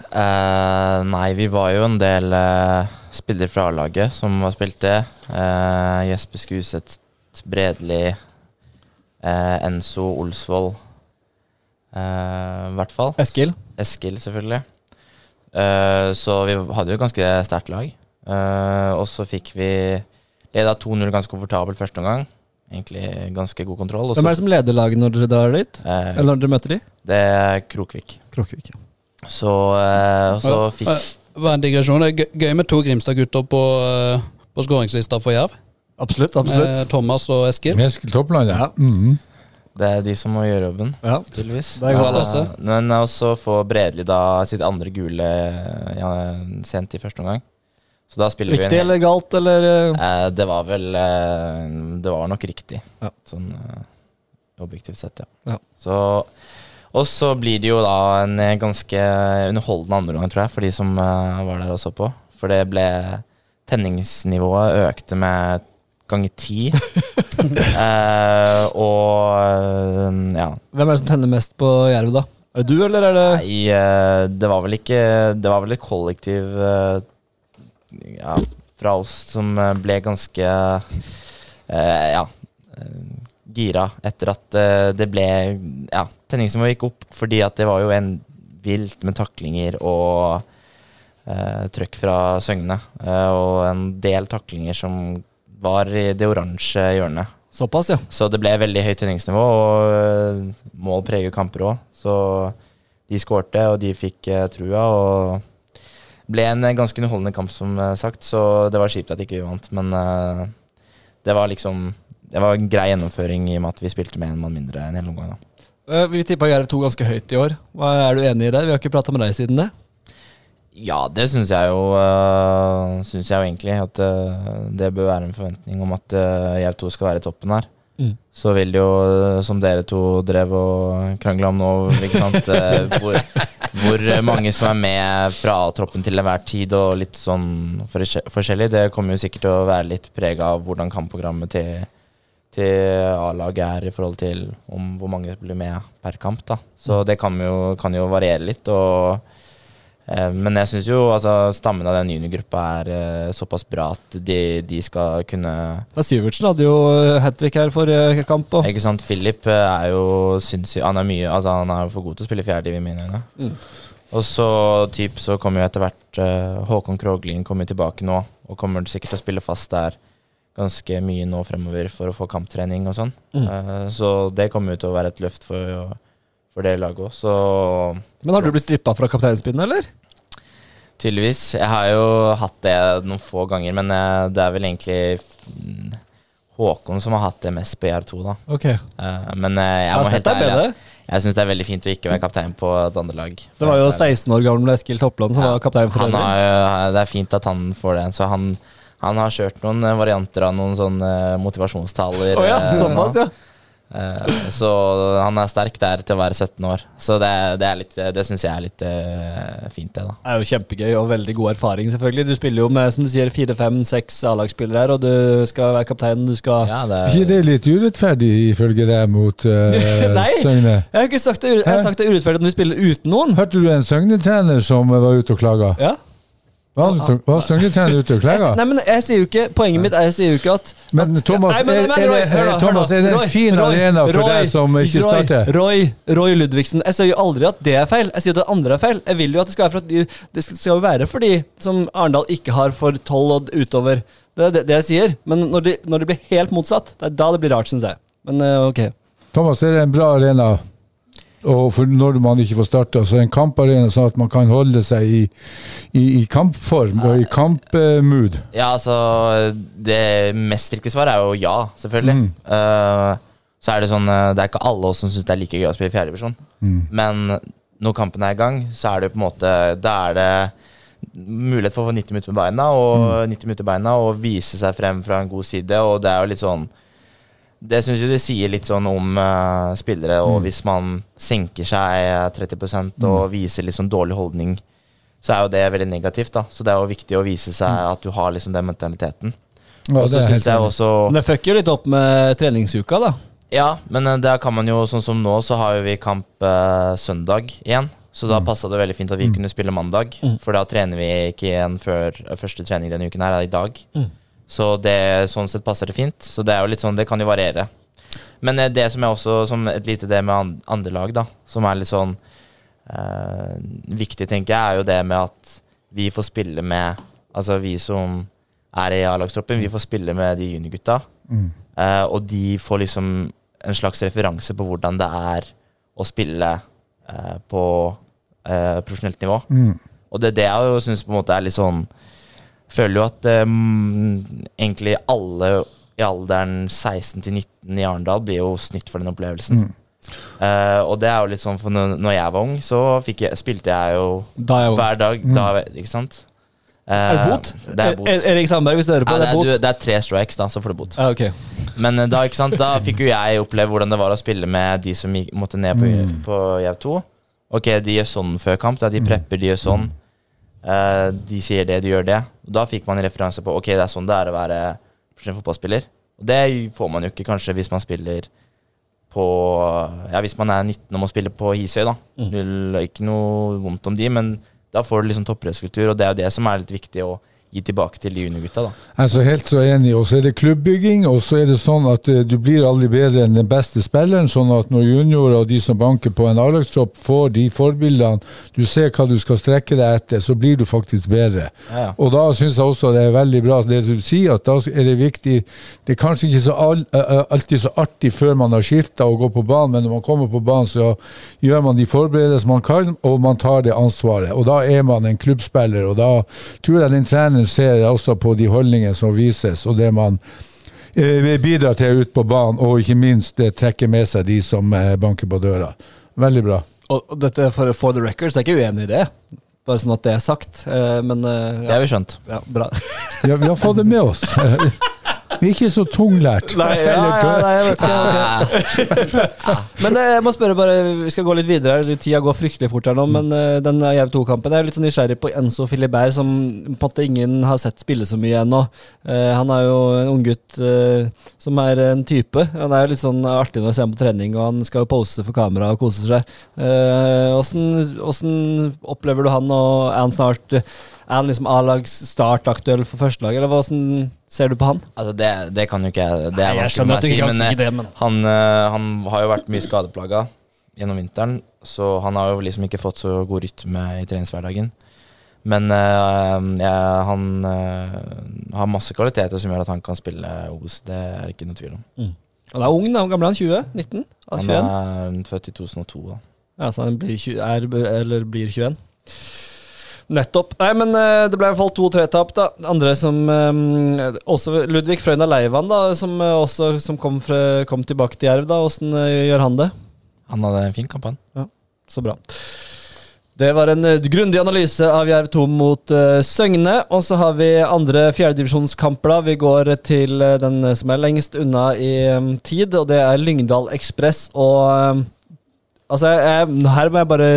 Eh, nei, vi var jo en del eh, spillere fra A-laget som har spilt det. Eh, Jesper Skuseth, Bredli, eh, Enzo Olsvold. eh, I hvert fall.
Eskil?
Eskil, selvfølgelig. Eh, så vi hadde jo et ganske sterkt lag. Eh, og så fikk vi leda 2-0 ganske komfortabelt første omgang. Egentlig ganske god kontroll. Og
Hvem er
så
det som leder laget når dere drar dit?
eh,
Eller når dere møter de?
Det er Krokvik.
Kråkevik. ja.
Så, eh, og så fikk
Eh, Bare en digresjon. Det er gøy- gøy med to Grimstad-gutter på, eh, på skåringslista for Jerv.
Absolutt,
Eh,
absolutt.
Thomas og Eskil.
Eskil Toppland, ja.
Ja.
Mhm.
Det er de som må gjøre jobben.
Ja.
Tydeligvis.
Det er godt,
Men,
altså.
eh, Men også få Bredli da sitt andre gule ja, sent i første omgang. Så da spiller
Riktig
vi en hel-
eller galt, eller eh,
Eh, Det var vel eh, Det var nok riktig,
Ja.
sånn eh, objektivt sett, ja.
Ja.
Så og så blir det jo da en eh, ganske underholdende andre omgang, tror jeg, for de som eh, var der og så på. For det ble Tenningsnivået økte med ganger ti. eh, og eh, ja,
hvem er det som tenner mest på Jerv, da? Er det du, eller er det
Nei, eh, det var vel ikke Det var vel et kollektiv eh, ja, fra oss som eh, ble ganske eh, Ja eh, gira etter at eh, det ble Ja, tenningsnivået gikk opp fordi at det var jo en vilt med taklinger og eh, trøkk fra Søgne. eh, og en del taklinger som var i det oransje hjørnet.
Såpass, ja.
Så det ble veldig høyt treningsnivå, og øh, mål preger jo kamper òg. Så de skårte, og de fikk eh, trua. og ble en eh, ganske underholdende kamp, som eh, sagt, så det var kjipt at ikke vi vant. Men eh, det var liksom Det var en grei gjennomføring i og med at vi spilte med en mann mindre en hel omgang. da.
Eh, Vi tippa Jerv 2 ganske høyt i år. Hva, er du enig i det? Vi har ikke prata med deg siden det.
Ja, det syns jeg jo øh, Synes jeg jo egentlig. At øh, det bør være en forventning om at øh, jeg to skal være i toppen her.
Mm.
Så eh, vil det jo, øh, som dere to drev og krangla om nå ikke sant? øh, hvor, hvor eh, mange som er med fra A-troppen til enhver tid, og litt sånn forskje- forskjellig. Det kommer jo sikkert til å være litt prega av hvordan kampprogrammet til, til A-laget er i forhold til om hvor mange blir med per kamp. da. Så det kan jo, kan jo variere litt. og eh, men jeg syns jo altså, stammen av den juniorgruppa er eh, såpass bra at de, de skal kunne
Ja, Syvertsen hadde jo hat trick her forrige kamp. Og.
Ikke sant, Philip eh, er jo sinnssyk Han er mye Altså han er jo for god til å spille fjerde i mine øyne. Og så typ så kommer jo etter hvert eh, Håkon Kroglin kommer tilbake nå, og kommer sikkert til å spille fast der ganske mye nå fremover for å få kamptrening og sånn. Eh, så det kommer jo til å være et løft for, for det laget òg. Så
Men har du blitt strippa fra kapteinspinnen, eller?
Tydeligvis. Jeg har jo hatt det noen få ganger, men eh, det er vel egentlig mm, Håkon som har hatt det mest på IR2, da.
Ok.
Eh, men eh, jeg,
Jeg har
må
sett
helt
deg
ærlig
bedre.
Jeg syns det er veldig fint å ikke være kaptein på et andre lag.
Det var jo 16 år gamle Eskil Toppland som var kaptein for
han
øvrig.
har, jo- eh, Det er fint at han får det. Så han, han har kjørt noen eh, varianter av noen sånne eh, motivasjonstaler.
Å ja,
eh,
såpass,
nå.
ja.
Eh, så han er sterk der til å være 17 år. Så det, det, er litt- det syns jeg er litt eh, fint, det, da.
Det er jo kjempegøy og veldig god erfaring, selvfølgelig. Du spiller jo med som du sier, fire-fem-seks A-lagsspillere her, og du skal være kaptein. Du skal
Ja, det
Er ikke det litt urettferdig, ifølge deg, mot uh,
Nei.
Søgne?
Jeg har ikke sagt det, ure- jeg har
Hæ?
sagt det er urettferdig når vi spiller uten noen.
Hørte du en Søgne-trener som eh, var ute og klaga?
Ja.
Var, han ute- var Søgne-trener ute og
Jeg, s-
klaga?
nei, men jeg sier jo ikke Poenget mitt er jeg sier jo ikke at
Men Thomas,
Nei, men-
er-
men
er
Roy,
det-
hør da, hør
Thomas,
da.
er det en
Roy,
fin
Roy,
arena for
Roy,
deg som ikke
Roy,
starter?
Roy, Roy Ludvigsen. Jeg sier jo aldri at det er feil. Jeg sier jo at det andre er feil. Jeg vil jo at det skal være for, at de, det skal jo være for de som Arendal ikke har for tolv og utover. Det er det, det jeg sier. Men når det når de blir helt motsatt, det er da det blir rart, syns jeg. Men eh, ok.
Thomas, det er en bra arena og for når man ikke får starte. Altså en kamparena sånn at man kan holde seg i, i, i kampform og i kampmood.
Ja, altså Det mest riktige svaret er jo ja, selvfølgelig.
Mm.
Eh, så er det sånn eh, Det er ikke alle oss som syns det er like gøy å spille fjerdedivisjon.
Mm.
Men når kampen er i gang, så er det på en måte Da er det mulighet for å få 90 minutter med beina og
Mm.
90 minutter med beina og vise seg frem fra en god side, og det er jo litt sånn det syns jeg det sier litt sånn om eh, spillere, og
Mm.
hvis man senker seg eh, 30 og viser litt sånn dårlig holdning, så er jo det veldig negativt, da. Så det er jo viktig å vise seg at du har liksom den mentaliteten.
Mm. Ja,
og
det
så
er helt
syns jeg
enig.
også
Men det fucker jo litt opp med treningsuka, da.
Ja, men eh, der kan man jo, sånn som nå, så har jo vi kamp eh, søndag igjen. Så da passa det veldig fint at vi kunne spille mandag, for da trener vi ikke igjen før eh, første trening denne uken her, er i dag. Så det, sånn sett passer det fint. Så det er jo litt sånn, det kan jo variere. Men eh, det som er også som et lite det med an- andre lag, da, som er litt sånn eh, viktig, tenker jeg, er jo det med at vi får spille med Altså vi som er i A-lagstroppen, vi får spille med de juniorgutta.
Mm,
Eh, og de får liksom en slags referanse på hvordan det er å spille eh, på eh, profesjonelt nivå.
mm,
Og det er det jeg jo syns på en måte er litt sånn Føler jo at eh, mm, egentlig alle i alderen 16 til 19 i Arendal blir jo snytt for den
Mm.
opplevelsen.
mm.
Eh, og det er jo litt sånn, for når når jeg var ung, så fikk jeg, spilte jeg jo
Da er jeg
hver dag. Da, ikke sant?
Mm. Er det
Eh,
bot?
Det er bot.
Er- Erik Sandberg, hvis du hører på,
Ja,
det er bot.
du- det er tre strikes, da, så får du bot.
Ja, ok.
Men eh, da, ikke sant, da fikk jo jeg oppleve hvordan det var å spille med de som gikk, måtte ned på, på JV2. Ok, de gjør sånn før kamp. Da. De prepper, de gjør sånn. Eh, de sier det, de gjør det. Og da fikk man en referanse på ok, det er sånn det er å være profesjonell fotballspiller. Og det får man jo ikke kanskje hvis man spiller på Ja, hvis man er 19 og må spille på Hisøy, da. Null, ikke noe vondt om de, men da får du liksom toppidrettskultur, og det er jo det som er litt viktig å gi tilbake til de juniorgutta, da.
Altså Helt så enig. Og så er det klubbbygging, og så er det sånn at eh, du blir aldri bedre enn den beste spilleren. Sånn at når juniorer og de som banker på en A-lagstropp, får de forbildene, du ser hva du skal strekke deg etter, så blir du faktisk bedre.
Ja, ja.
Og da syns jeg også det er veldig bra det du sier, at da er det viktig Det er kanskje ikke så all, eh, eh, alltid så artig før man har skifta og går på banen, men når man kommer på banen, så gjør man de forberedelser man kan, og man tar det ansvaret. Og da er man en klubbspiller, og da tror jeg den treneren ser også på de holdningene som vises, og det man eh, bidrar til ut på banen, og ikke minst eh, trekker med seg de som eh, banker på døra. Veldig bra.
Og og dette for, for the record, så er jeg ikke uenig i det. Bare sånn at det er sagt. eh, Men eh,
Det har vi skjønt.
ja, ja, bra.
Ja, vi har fått det med oss. Vi er ikke så tunglært.
Nei, ja, ja, nei, jeg vet ikke.
Ah,
Men eh, jeg må spørre bare, vi skal gå litt videre her. Tida går fryktelig fort her nå, men eh, den Jerv 2-kampen Jeg er litt sånn nysgjerrig på Enzo Filibert, som på en måte ingen har sett spille så mye ennå. Eh, Han er jo en unggutt eh, som er en type. Han er jo litt sånn artig når jeg ser ham på trening, og han skal jo pose for kamera og kose seg. Åssen opplever du han, og er han snart er han liksom A-lags start aktuell for førstelaget, eller hvordan ser du på han?
altså det, det kan jo ikke jeg Det er
Nei, jeg
vanskelig for meg å si,
skjønner at du ikke kan
men,
si det,
eh,
men-
han, eh, han har jo vært mye skadeplaga gjennom vinteren, så han har jo liksom ikke fått så god rytme i treningshverdagen. Men eh, jeg, han eh, har masse kvaliteter som gjør at han kan spille Obos, det er det ikke noe tvil om.
Han er ung, da. Hvor gammel er han? 20? 19? Ja,
Han
21?
er født i 2002, da.
Ja, så han blir, 20, er, eller blir 21. Nettopp. Nei, men eh, det ble i hvert fall to-tre tap, da. Andre som eh, Også Ludvig Frøyna Leivan, da, som eh, også som kom, fra, kom tilbake til Jerv, da. Åssen eh, gjør han det?
Han hadde en fin kamp, han.
Så bra. Det var en eh, grundig analyse av Jerv 2 mot eh, Søgne. Og så har vi andre fjerdedivisjonskamper. da. Vi går til eh, den som er lengst unna i eh, tid, og det er Lyngdal Ekspress. Og eh, altså, jeg, jeg- her må jeg bare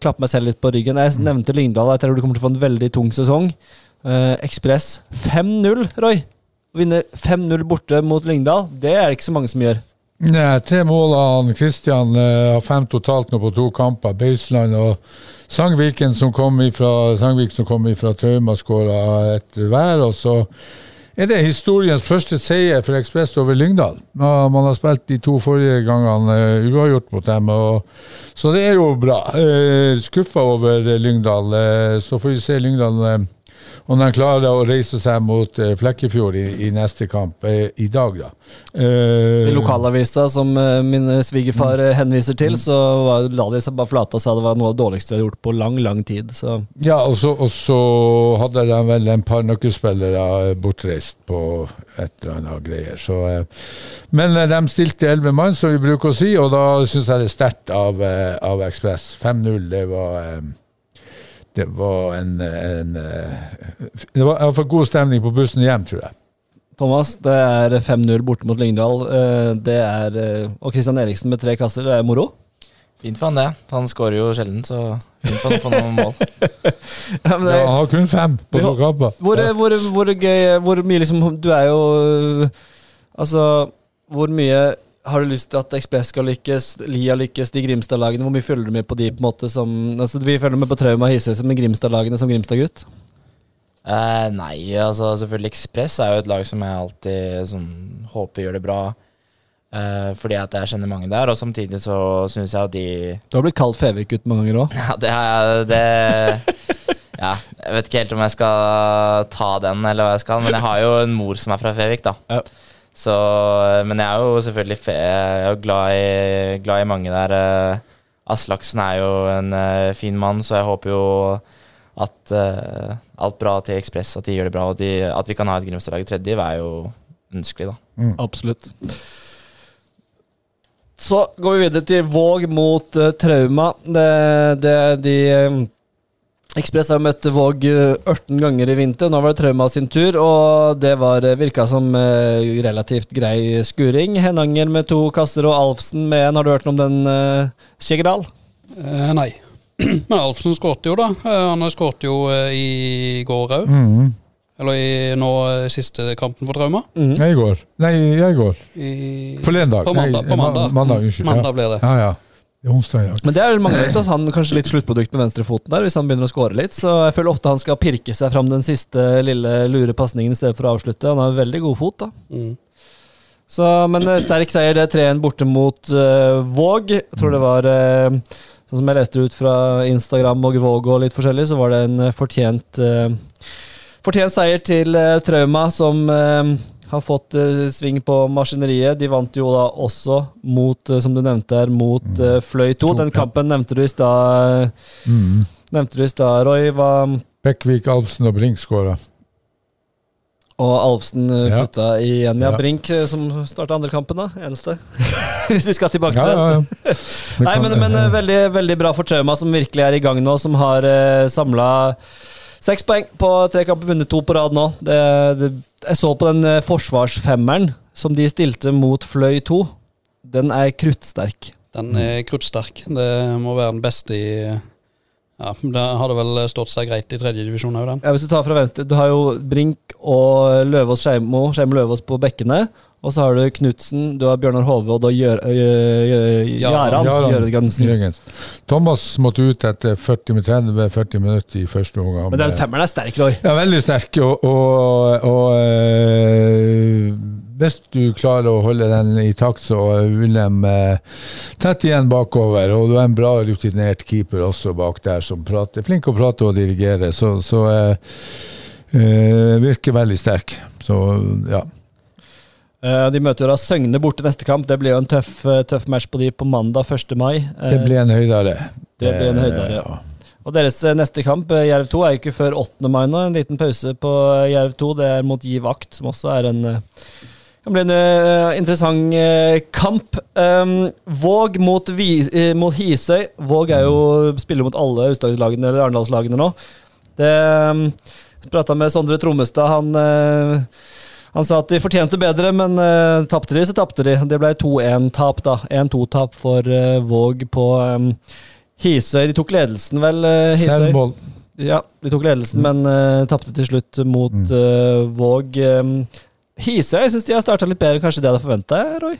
klappe meg selv litt på ryggen. Jeg nevnte Lyngdal. Jeg tror du kommer til å få en veldig tung sesong. Eh, Ekspress 5-0, Roy. Vinner 5-0 borte mot Lyngdal. Det er det ikke så mange som gjør.
Nei, tre mål av han Kristian eh, har fem totalt nå på to kamper. Beisland og Sangviken som kom ifra, Sangvik som kom ifra Trauma, skåra et hver. Og så er det historiens første seier for Ekspress over Lyngdal. Ja, Man har spilt de to forrige gangene eh, uavgjort mot dem, og, så det er jo bra. Eh, Skuffa over eh, Lyngdal. eh, Så får vi se Lyngdal eh, om de klarer å reise seg mot eh, Flekkefjord i, i neste kamp eh, i dag, da.
I
Eh,
lokalavisa som eh, min svigerfar eh, henviser til, så var- la de seg bare flate og sa det var noe av det dårligste de har gjort på lang, lang tid. Så
Ja, og så, og så hadde de vel en par nøkkelspillere eh, bortreist på et eller annet greier. Så, eh, men eh, de stilte elleve mann, som vi bruker å si, og da syns jeg det er sterkt av, eh, av Ekspress. 5-0, det var eh, Det var en, en eh, Det var iallfall god stemning på bussen hjem, tror jeg.
Thomas, det er 5-0 borte mot Lyngdal. eh, Det er, eh, og Christian Eriksen med tre kasser, det er moro.
Fint for han det. Han skårer jo sjelden, så fint for han å få noen mål.
Ja,
Ja,
men det-
han har kun fem på
Ja.
to kamper.
Hvor,
Ja.
eh, hvor, hvor gøy Hvor mye liksom Du er jo øh, Altså Hvor mye har du lyst til at Ekspress skal lykkes, Lia lykkes, de Grimstad-lagene? Hvor mye følger du med på de på en måte som altså, Vi følger med på Trauma og Hisøysen, men Grimstad-lagene som Grimstad-gutt?
Eh, nei, altså selvfølgelig Ekspress er jo et lag som jeg alltid sånn, håper gjør det bra. eh, fordi at jeg kjenner mange der, og samtidig så syns jeg at de
Du har blitt kalt Fevik-gutt mange ganger òg.
Ja, det er det Ja, jeg vet ikke helt om jeg skal ta den, eller hva jeg skal, men jeg har jo en mor som er fra Fevik, da.
Ja.
Så, eh, men jeg er jo selvfølgelig fe jeg er jo glad, i, glad i mange der. eh, Aslaksen er jo en eh, fin mann, så jeg håper jo at eh, alt bra til Ekspress, at de gjør det bra, og de, at vi kan ha et Grimstad-lag i tredje, er jo ønskelig, da.
Absolutt. Så går vi videre til Våg mot eh, Trauma. Det, det de eh, Ekspress har møtt Våg eh, 18 ganger i vinter. Nå var det Trauma sin tur, og det var, eh, virka som eh, relativt grei skuring. Henanger med to kasser og Alfsen med en. Har du hørt noe om den, eh, Skjeggedal?
Eh, nei. Men Alfsen skårte jo, da. Eh, han skårte jo eh, i går òg.
Mhm.
Eller i nå eh, siste kampen for Trauma.
Nei, i går. Nei, jeg går.
I,
Forleden dag.
På mandag,
Nei,
på
ma-
mandag.
mandag unnskyld.
Mandag
ja.
ble det.
Ja, ja. Det er onsdag i dag.
Men det er mangler litt, altså. han kanskje litt sluttprodukt med venstrefoten der, hvis han begynner å score litt. Så jeg føler ofte han skal pirke seg fram den siste lille lure pasningen i stedet for å avslutte. Han har veldig god fot, da.
Mm.
Så, men eh, sterk seier, det er 3-1 borte mot eh, Våg. Jeg tror det var eh, Sånn som jeg leste ut fra Instagram og Våg og litt forskjellig, så var det en eh, fortjent eh, Fortjent seier til eh, Trauma, som eh, har fått eh, sving på maskineriet. De vant jo da også mot, eh, som du nevnte her, mot eh, Fløy 2. Den kampen nevnte du i stad, eh,
Mm.
nevnte du i stad, Roy. Hva,
Bekkvik, Alfsen og Brink skåra.
og Alfsen eh,
Ja.
putta igjen. Ja,
Ja.
Brink, eh, som starta andre kampen, da. Eneste. Hvis vi skal tilbake til det.
ja. Det
Nei,
kan-
men, men eh, veldig, veldig bra for Trauma, som virkelig er i gang nå, som har eh, samla eh, Seks poeng på tre kamper, vunnet to på rad nå. Det, det, jeg så på den eh, forsvarsfemmeren som de stilte mot Fløy 2. Den er kruttsterk.
Den er kruttsterk. Det må være den beste i Ja, der har det vel stått seg greit i tredjedivisjon òg, den.
Ja, hvis du tar fra venstre, du har jo Brink og Løvås Skeimo, Skeimo Løvås på bekkene. Og så har du Knutsen, du har Bjørnar Hove og da Gjør- ø- ø- ø- Jaran
Jaran.
Gjørødgrensen.
Jørgensen. Thomas måtte ut etter 40 med 30 40 minutter i første omgang.
Men den femmeren er sterk, Roy.
Ja, veldig sterk, og, og, og eh, hvis du klarer å holde den i takt, så vil de eh, tett igjen bakover. Og du er en bra rutinert keeper også bak der, som prater. flink å prate og dirigere, så, så eh, eh, virker veldig sterk. Så ja.
Eh, De møter jo da Søgne borte neste kamp. Det blir jo en tøff, eh, tøff match på de på mandag 1. mai. Eh,
Det blir en høydere.
Det blir en høydere,
Eh,
Og deres eh, neste kamp, eh, Jerv 2, er jo ikke før 8. mai nå. En liten pause på eh, Jerv 2. Det er mot Giv Akt, som også er en eh, kan bli en eh, interessant eh, kamp. Um, Våg mot, vi, eh, mot Hisøy. Våg er jo spiller mot alle Aust-Agder-lagene eller Arendalslagene nå. Det um, Prata med Sondre Trommestad. Han, eh, han sa at de fortjente bedre, men uh, tapte de, så tapte de. Det ble 2-1-tap, da. 1-2-tap for eh, Våg på em, Hisøy. De tok ledelsen, vel? eh, Hisøy?
Selvmål.
Ja, de tok ledelsen, men uh, tapte til slutt mot eh, Våg. Um, Hisøy syns de har starta litt bedre enn kanskje det jeg hadde forventa, Roy.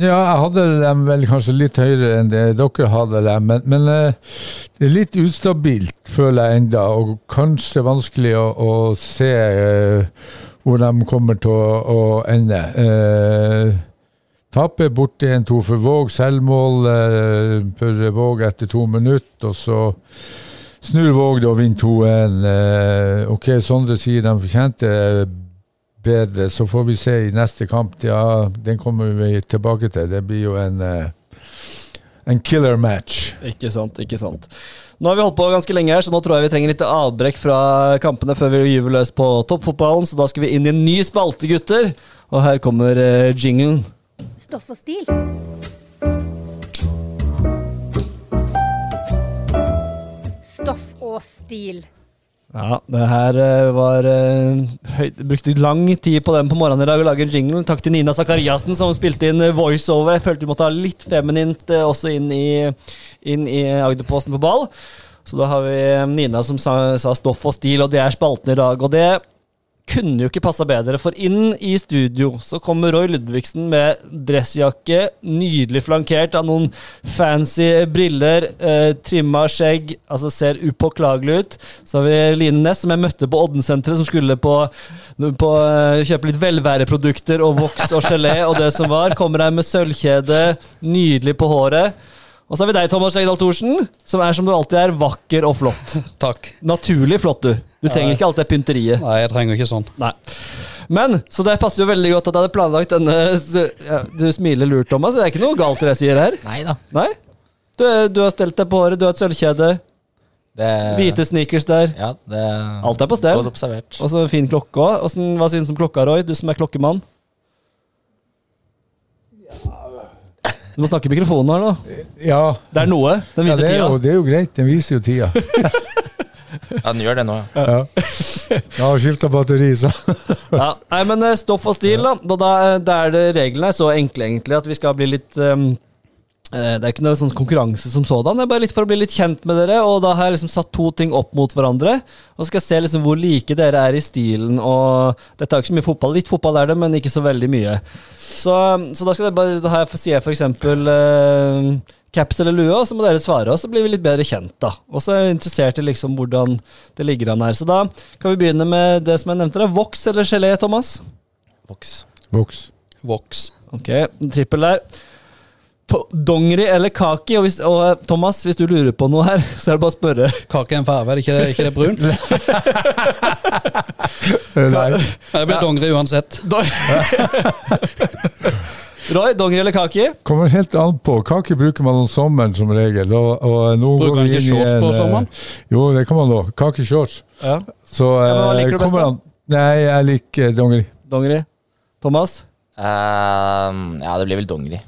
Ja, jeg hadde dem vel kanskje litt høyere enn det dere hadde dem, men, men eh, det er litt ustabilt, føler jeg enda, og kanskje vanskelig å, å se eh, hvor de kommer til å, å ende. Uh, Taper borti en to for Våg, selvmål eh, for Våg etter to minutter, og så snur Våg da og vinner 2-1. Eh, ok, Sondre sier de fortjente eh, bedre. Så får vi se i neste kamp. Ja, den kommer vi tilbake til. Det blir jo en, eh, en killer match.
Ikke sant, ikke sant. Nå har vi holdt på ganske lenge her, så nå tror jeg vi trenger litt avbrekk fra kampene før vi gyver løs på toppfotballen, så da skal vi inn i en ny spalte, gutter. Og her kommer eh, jinglen.
Stoff og stil. Stoff og stil.
Ja, det her eh, var eh, høyt, Brukte lang tid på den på morgenen i dag å lage en jingle. Takk til Nina Sakariassen som spilte inn eh, voiceover. Jeg følte vi måtte ha litt feminint eh, også inn i, inn i Agderposten på ball. Så da har vi eh, Nina som sa, sa stoff og stil, og det er spalten i dag. Og det kunne jo ikke passa bedre, for inn i studio så kommer Roy Ludvigsen med dressjakke, nydelig flankert av noen fancy briller, eh, trimma skjegg, altså ser upåklagelig ut. Så har vi Line Næss, som jeg møtte på Oddensenteret, som skulle på, på eh, kjøpe litt velværeprodukter og voks og gelé og det som var. Kommer her med sølvkjede, nydelig på håret. Og så har vi deg, Thomas Skjegdal Thorsen, som er som du alltid er, vakker og flott.
Takk.
Naturlig flott, du. Du trenger ikke alt det pynteriet.
Nei, jeg trenger ikke sånn.
Nei. Men, så det passer jo veldig godt at jeg hadde planlagt denne s- ja, Du smiler lurt, Thomas. Det er ikke noe galt i det jeg sier her.
Nei da.
Nei? Du, du har stelt deg på håret, du har et sølvkjede,
Det,
hvite sneakers der.
Ja, det
Alt er på stell.
Godt observert.
Og så en fin klokke òg. Hva syns du om klokka, Roy? Du som er klokkemann. Du må snakke i mikrofonen her nå.
Ja,
Det er noe. Den
ja
viser
det, er jo,
tida.
det er jo greit. Den viser jo tida.
Ja, den gjør det nå, ja.
Ja. Jeg har skifta batteri, så
Ja. Nei, men eh, stoff og stil, da. Da, da, da er det reglene er så enkle, egentlig, at vi skal bli litt ehm, eh, Det er ikke noe sånn konkurranse som sådan, det er bare litt for å bli litt kjent med dere. Og da har jeg liksom satt to ting opp mot hverandre, og så skal jeg se liksom hvor like dere er i stilen. Og dette er jo ikke så mye fotball. Litt fotball er det, men ikke så veldig mye. Så, så da skal dere bare Da har jeg, sier jeg for eksempel eh, caps eller lue, og så må dere svare, og så blir vi litt bedre kjent, da. Og så er jeg interessert i liksom hvordan det ligger an her. Så da kan vi begynne med det som jeg nevnte, da. Voks eller gelé, Thomas?
Voks.
Voks.
Voks.
Ok, trippel der. To dongeri eller kaki? Og, hvis, og eh, Thomas, hvis du lurer på noe her, så er det bare å spørre.
Kake er en farge, er det ikke, er ikke det brun? Nei,
Eh, Nei.
Det blir dongeri uansett.
Roy, dongeri eller kaki?
Kommer helt an på. Kake bruker man om sommeren som regel. Og, og nå
Bruker
går
man
vi
ikke
inn i
shorts
en,
på
eh,
sommeren?
Jo, det kan man òg. Kakeshorts.
Ja.
Så
Ja, men hva
eh,
liker du best,
kommer
da?
an- Nei, jeg liker eh, dongeri.
Dongeri. Thomas?
Ehm, ja, det blir vel dongeri.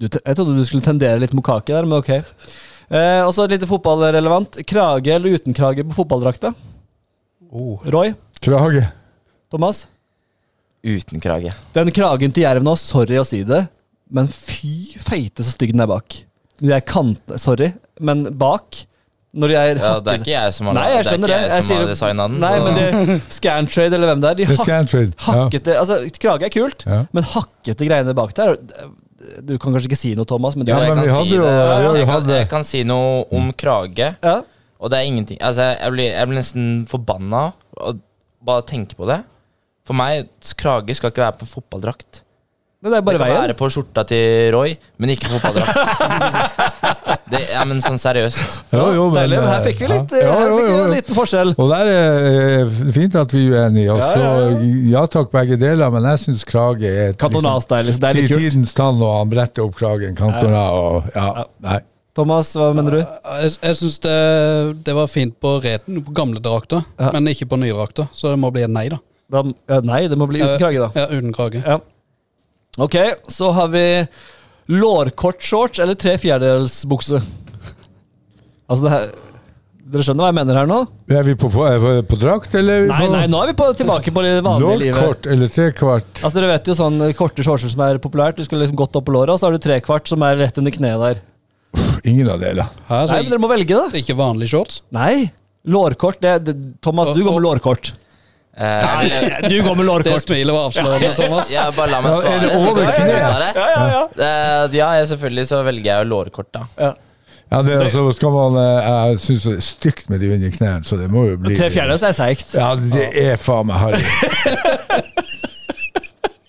Du, te- jeg trodde du skulle tendere litt mot kake der, men ok. Eh, og så et lite fotballrelevant. Krage eller uten krage på fotballdrakta?
Oh.
Roy?
Krage.
Thomas?
Uten krage.
Den kragen til jerv nå, sorry å si det, men fy feite så stygg den er bak. De er kantene Sorry, men bak Når de er
Ja, det er ikke jeg som har,
Nei, jeg
det er ikke
skjønner det.
jeg
Jeg
som har
sier-
designa den.
Nei,
så-
men det Scantrade eller hvem det er, de
Det er
hak,
Scantrade. Ja.
hakkete Altså, krage er kult,
Ja.
men hakkete greiene bak der Du kan kanskje ikke si noe, Thomas, men du
Jo,
ja,
men
jeg kan
vi hadde
si
jo-
det.
ja, vi
Jeg kan,
hadde-
jeg kan si noe om krage.
ja.
Og det er ingenting Altså, jeg blir, jeg blir nesten forbanna og bare tenke på det. For meg, krage skal ikke være på fotballdrakt.
Det er
Det
bare
kan
veien.
være på skjorta til Roy, men ikke fotballdrakt. det, ja, men sånn seriøst.
Jo, jo, men,
Deilig, men her
eh,
fikk vi litt eh,
ja.
Her
Jo,
fikk vi
jo,
en
jo.
liten forskjell.
Og der er eh, fint at vi er uenige. Og så
Ja, ja,
ja takk, begge deler, men jeg syns krage er et-
Kantonastyle, så det er litt
Til
kult.
tidens tann, og han bretter opp kragen. Kantona og Ja, nei.
Thomas, hva mener du?
Jeg, jeg syns det, det var fint på reten, på gamle drakter,
Ja.
men ikke på nye drakter. Så det må bli et nei, da.
Da, ja, nei, det må bli
Eh,
uten krage, da.
Ja, uten krage.
Ja. Ok, så har vi lårkort shorts eller tre fjerdedels bukse. Altså det her Dere skjønner hva jeg mener her nå?
Er vi på, fo- er vi på drakt, eller? er vi
Nei,
på-
nei, nå er vi på, tilbake på det vanlige livet.
Lårkort eller trekvart?
Altså Dere vet jo sånn korte shortser som er populært. Du skulle liksom godt opp på låret, og så har du trekvart som er rett under kneet der.
Ingen av delene.
Her, så
Nei, men Dere må velge, da.
Ikke vanlige shorts.
Nei. Lårkort. Det, det, Thomas, du går med lårkort.
Eh, jeg vil-
Du går med
Det smilet var avslørende, Thomas.
Ja, bare la meg
Ja, er
svare.
det
så
over
kan jeg
kneet?
ta det.
Ja, ja, ja.
Eh, ja, jeg- selvfølgelig så velger jeg jo lårkort, da.
ja.
Ja, det, er altså, skal man, eh, jeg syns det er stygt med de under knærne, så det må jo bli
Tre fjerdedels er seigt.
Ja, det er faen meg harry.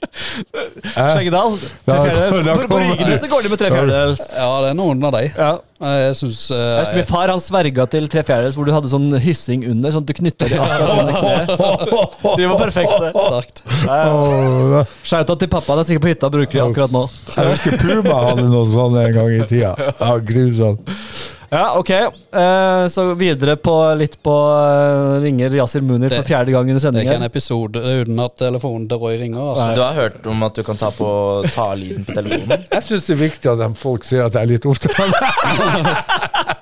Eh,
Skjeggedal. Tre
Da-
fjerdedels.
da
På- På
kommer-
ryggene så går de med tre fjerdedels.
Ja, det er noen av deg.
Ja.
Jeg eh, syns
Jeg husker Min far han sverga til tre fjerdedels hvor du hadde sånn hyssing under. Sånn at du knytta de akkurat under kneet. De var perfekte.
Sterkt.
åh,
Shouta til pappa. Han er sikkert på hytta og bruker de akkurat nå.
jeg husker Puma hadde noe sånt en gang i tida. Ja, Grusomt.
Ja, ok. Eh, Så videre på litt på eh, ringer Yasir Munir for
Det-
fjerde gang under
Det er ikke en
sendingen.
episode uten at telefonen til Roy ringer. Altså.
Du har hørt om at du kan ta, på, ta av lyden på telefonen?
Jeg syns det er viktig at de folk ser at jeg er litt opptatt.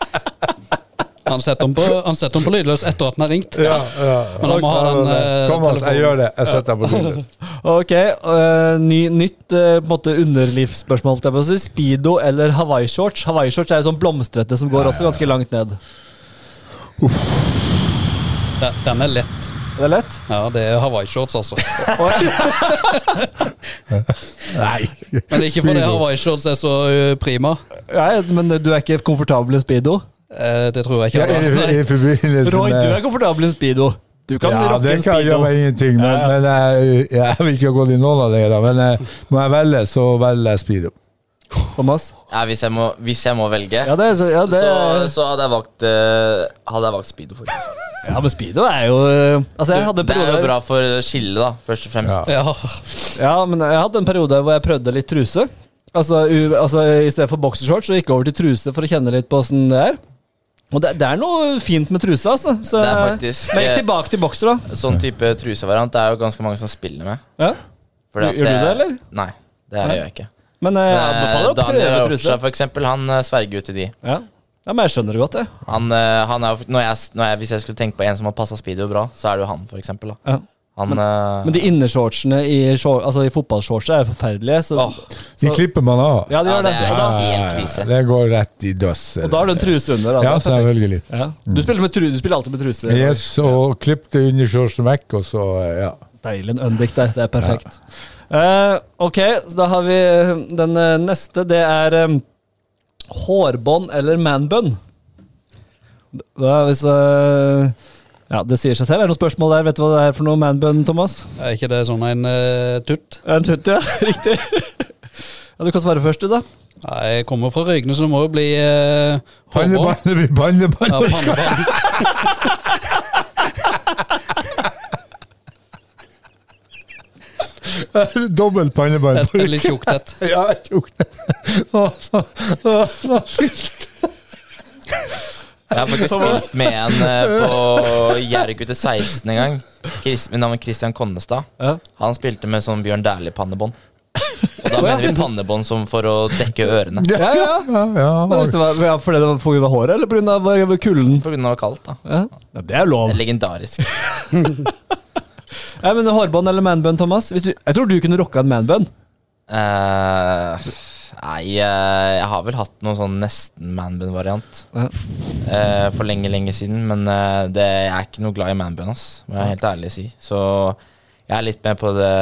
Han setter den på, han setter den på lydløs etter at den har ringt.
Ja, ja.
Men han må ha den, eh,
Thomas,
telefonen.
jeg gjør det. Jeg setter deg på lyden.
Ok, eh, ny, Nytt eh, på en måte underlivsspørsmål. holdt jeg på å si. Speedo eller hawaiishorts? Hawaiishorts er jo sånn blomstrete som går også ganske langt ned.
Den- Den er lett.
Er det lett?
Ja, det er hawaiishorts, altså. Men ikke fordi hawaiishorts er så ø, prima.
Nei, men du er ikke komfortabel i speedo?
Eh, Det tror jeg ikke.
Ja, i,
Nei.
i forbindelse
Roy, du er
med
komfortabel i en speedo. Du kan
eh, ja,
rocke
det
en
kan
speedo.
gjøre meg ingenting, men, men jeg, jeg vil ikke ha gått i noen av dere. Men eh, må jeg velge, så velger jeg speedo.
Thomas?
Ja, hvis jeg må, hvis jeg må velge,
Ja, det, er så- ja, det,
så, så hadde jeg valgt eh, Hadde jeg valgt speedo, faktisk.
ja, men speedo er jo eh, Altså, jeg hadde en
Det er jo
periode
bra for skillet, da, først og fremst.
Ja.
Ja, men jeg hadde en periode hvor jeg prøvde litt truse. Altså, u, altså i stedet for boksershorts, så gikk jeg over til truse for å kjenne litt på åssen det er. Og det, det er noe fint med truse, altså. Så
Det er faktisk- eh,
Men jeg gikk tilbake til bokser, da.
Sånn type trusevariant det er jo ganske mange som spiller med.
Ja.
Fordi at
Gjør du det, eller?
Nei, det
Nei.
gjør jeg ikke.
Men eh, jeg
Eh,
anbefaler å
Daniel
prøve
Raocha,
truse.
for eksempel, han eh, sverger jo til de.
Ja. ja, men jeg skjønner det godt, jeg.
Han, eh, han er, jo- når jeg, s- når jeg, hvis jeg skulle tenke på en som har passa speedo bra, så er det jo han, for eksempel. Da.
Ja.
Han, eh,
Men de innershortsene i, shor- altså, i fotballshortser er jo forferdelige. Så,
De
så,
klipper man av.
ja, de
ja,
gjør
det
det.
er
Og da,
helt krise.
det går rett i døss.
og da er det en truse under. Da.
Ja,
Det er perfekt.
selvfølgelig.
Ja. Du, spiller med tru, du spiller alltid med truse.
Yes, og klipp det under shortsen vekk, og så eh, ja.
Deilig. En undick der. Det er perfekt. Eh, ok, så da har vi den eh, neste. Det er eh, hårbånd eller manbun. Da er Hvis eh, Ja, det sier seg selv. Er det noen spørsmål der? Vet du hva det er for noe manbun, Thomas?
Er ikke det sånn en ø, tutt?
En tutt, ja. Riktig. Ja, du kan svare først, du, da.
Nei, jeg kommer fra Rygne, så det må jo bli ø, hårbånd.
Pannebanne blir pannebanne.
Ja, pannebånd.
Dobbelt pannebanne.
Et- Eller tjukt et.
Ja, jeg tok det. Å, så- å, så fint.
jeg har faktisk spilt med en eh, på Jergutte 16 en gang. Chris, min navn er Christian Konnestad.
Ja.
Han spilte med sånn Bjørn Dæhlie-pannebånd. Og Og da mener vi pannebånd som for å dekke ørene.
Ja, ja.
Ja,
Men hvis det var, ja, for det var på grunn av håret eller på grunn av eh, kulden?
På grunn av kaldt, da.
Ja. Ja, det er lov.
Det er legendarisk.
Ja, men Hårbånd eller manbun, Thomas? Hvis du, jeg tror du kunne rocka en manbun.
Eh, nei, eh, jeg har vel hatt noen sånn nesten manbun-variant
Ja.
eh, for lenge, lenge siden. Men eh, det, jeg er ikke noe glad i manbun, ass. Må jeg helt ærlig si. Så jeg er litt mer på det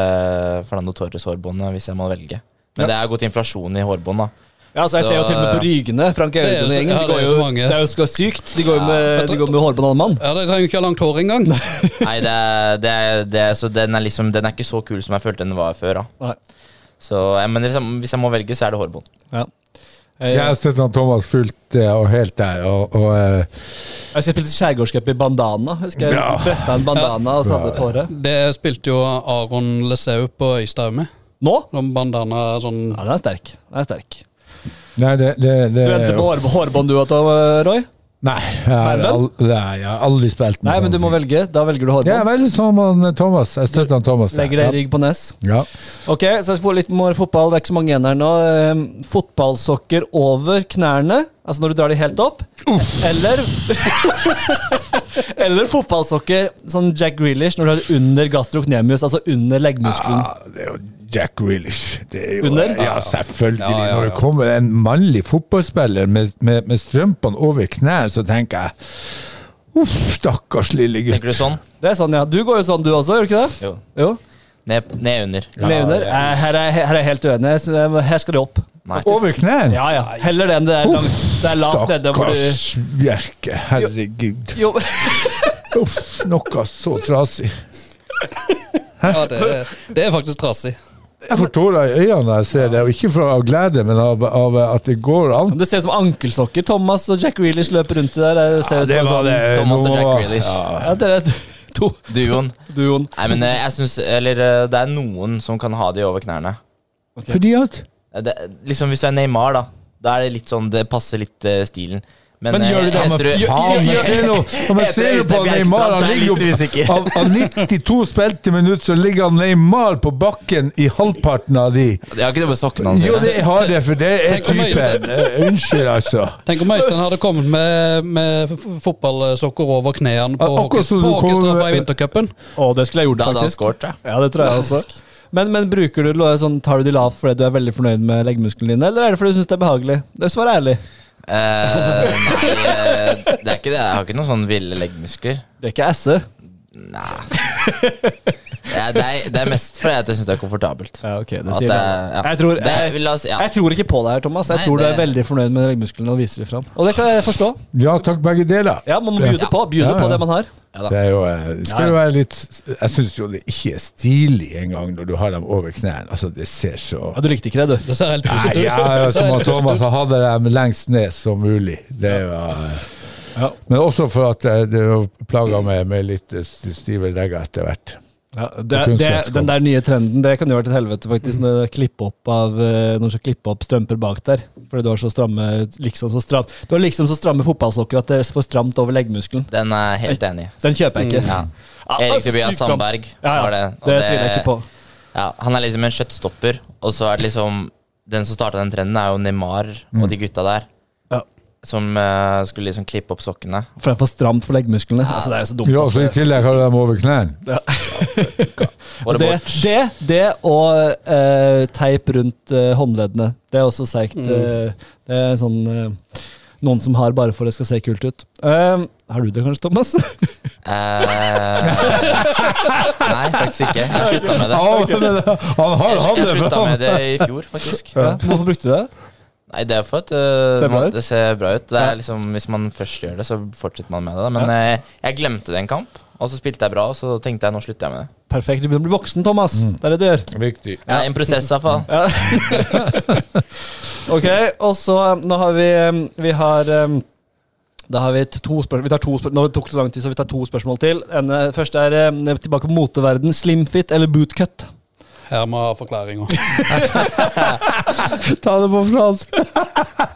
Fernando Torres-hårbåndet, hvis jeg må velge. Men det er gått inflasjon i hårbånd, da.
Ja, altså, jeg
Så-
ser jo til og med på Rygene. Frank
er jo så-
Audun-gjengen.
ja,
de
det
går
er
jo-
så mange.
det er jo skal sykt. De går jo med,
Ja.
de går med hårbånd alle mann.
Ja, De trenger ikke ha langt hår engang.
Nei, det, er- det, er- det, er- så den er liksom Den er ikke så kul som jeg følte den var før, da.
Nei.
Så jeg, men hvis jeg, hvis jeg må velge, så er det hårbånd.
Ja. Eh,
Jeg har sett han Thomas fullt eh, og helt der, og, og eh,
Jeg husker jeg spilte skjærgårdscup i bandana. Husker jeg
Ja.
bretta en bandana og satte på håret.
Det spilte jo Aron Lesau på Øystad med.
Nå?
Noen bandana sånn
Ja, den er sterk. Den er sterk.
Nei, det, det, det
Du endte på hår, hårbånd du òg, Roy?
Nei, jeg har,
Manbun?
al- nei, jeg har aldri spilt med
Nei, men du må
ting.
velge. Da velger du
Jeg er
hårbånd.
veldig sånn med Thomas. Jeg støtter han Thomas. der.
Legger deg i rygg på nes.
Ja.
Ok, så vi får litt mer fotball. Det er ikke så mange igjen her nå. Ehm, Fotballsokker over knærne, altså når du drar de helt opp. Eller Eller fotballsokker sånn Jack Grealish når du har det under gastrocnemius, altså under leggmuskelen.
Ja, det er jo Jack Grealish. Det er jo,
Under?
Ja, selvfølgelig.
Ja, ja, ja.
Når det kommer en mannlig fotballspiller med, med, med strømpene over knær, så tenker jeg Uff, stakkars lille gutt.
Tenker du sånn?
Det er sånn, ja. Du går jo sånn, du også, gjør du ikke det?
Jo.
Jo.
Ned, ned under.
Ned under. Eh, Her er, her er jeg helt uenig. Jeg synes- Her skal det opp.
Nei.
Over knær?
Ja, ja. Heller det enn det er, langt, det er lavt nede hvor du
Stakkars Bjerke. Herregud.
jo.
Uff, noe så trasig.
ja, det, det er faktisk trasig.
Jeg får tårer i øynene når jeg ser det, og ikke fra av glede, men av, av at det går an.
Det ser ut som ankelsokker. Thomas og Jack Grealish løper rundt der. Det ser ut som en sånn-
Thomas og Jack
Nå-
Grealish.
Ja, dere er to
Duoen.
duoen.
Nei, men eh, jeg synes, eller eh, det er noen som kan ha de over knærne.
Fordi at
Eh, Det, liksom Hvis du er Neymar, da, da er det litt sånn Det passer litt eh, stilen. Men, eh,
Men gjør du det?
Hesterud-
Gjør- Faen, men se nå- men
Heter
ser du på
Øystein Bjerkstad,
Neymar,
så
han
er jeg
ligger
litt usikker.
jo av, av 92 spilte minutter, så ligger han Neymar på bakken i halvparten av de.
Jeg har ikke det med sokkene hans.
Jo, det har det, for det er
Tenk om
typen. Eh, Unnskyld, altså.
Tenk om Øystein hadde kommet med, med f- fotballsokker over knærne på,
Akkurat
hockey,
som du
på
kom
hockeystraffa
med-
i vintercupen.
Å, det skulle jeg gjort,
Da hadde han
faktisk.
scoret, ja.
Ja, det tror jeg også. Men, men bruker du lo- sånn, tar du de lavt fordi du er veldig fornøyd med leggmusklene dine, eller er det fordi du syns det er behagelig? Det Svar ærlig.
Eh, nei, eh, det er ikke det. Jeg har ikke noen sånn ville leggmuskler.
Det er ikke esse.
Nei. Det er, det er- det er mest fordi at jeg syns det er komfortabelt.
Ja, ok, det
At det
sier det.
er- ja.
Jeg, tror,
Det er-
jeg,
la oss- ja.
jeg tror ikke på deg her, Thomas. Jeg
Nei,
tror du er
det-
veldig fornøyd med leggmusklene og viser dem fram. Og det kan jeg forstå.
Ja takk, begge deler.
Ja, man må bjude
Ja.
på bjude
Ja, ja.
på det man har.
da.
Det er jo, eh, det skal jo være litt Jeg syns jo det ikke er stilig engang når du har dem over knærne. Altså, det ser så
Ja, Du likte ikke det, du?
Det ser helt
Nei,
pustete ut.
ja,
Det ser
som
helt
han Thomas
pustete ut.
han hadde dem lengst ned som mulig. Det var, eh,
Ja.
Men også for at eh, det var plaga meg med litt eh, st- stive legger etter hvert.
Ja, det,
Kunstgress
det,
kom.
den der nye trenden Det kan jo være til helvete faktisk når du klipper opp av eh, Når du skal klippe opp strømper bak der. Fordi du har så stramme liksom så stramt, Du har liksom så stramme fotballsokker at det er for stramt over leggmuskelen.
Den er jeg helt enig i.
Den kjøper jeg ikke.
Mm, Ja.
Ja,
Erik
altså,
Tobias
sykt stramt.
Sandberg.
Ja, ja,
var
det,
det, og
tviler jeg ikke på.
Ja, han er liksom en skjøttstopper, og så er det liksom Den som starta den trenden, er jo Neymar og de gutta der.
Ja.
Som eh, skulle liksom klippe opp sokkene.
For det er for stramt for leggmusklene. Altså, det er jo så dumt.
Ja, så I tillegg har du dem over knærne.
Bare
det,
bort.
det, det og eh, teip rundt eh, håndleddene. Det er også seigt.
Mm.
eh, det er sånn eh, noen som har bare for det skal se kult ut. Eh, har du det kanskje, Thomas?
Eh, nei, faktisk ikke. Jeg slutta med det.
Ja, men det- Han har hatt
Jeg
det
slutta
bra!
med det i fjor, faktisk.
Hvorfor brukte du det?
Nei, det er for at eh,
Ser bra
man-
ut?
det ser bra ut. Det
Ja.
er liksom, hvis man først gjør det, så fortsetter man med det. Da. Men eh, jeg glemte det en kamp, og så spilte jeg bra, og så tenkte jeg nå slutter jeg med det.
Perfekt. Du begynner å bli voksen, Thomas. Det er det du gjør.
Viktig.
Ja, En prosess, i hvert fall.
Ok, og så um, Nå har vi um, Vi har um, da har vi t- to spørsmål Vi tar to spørsmål Nå tok det så lang tid Så vi tar to spørsmål til en, eh, Først er um, Tilbake på moteverden Slimfit eller bootcut
Her må jeg ha forklaringa.
Ta det på fransk!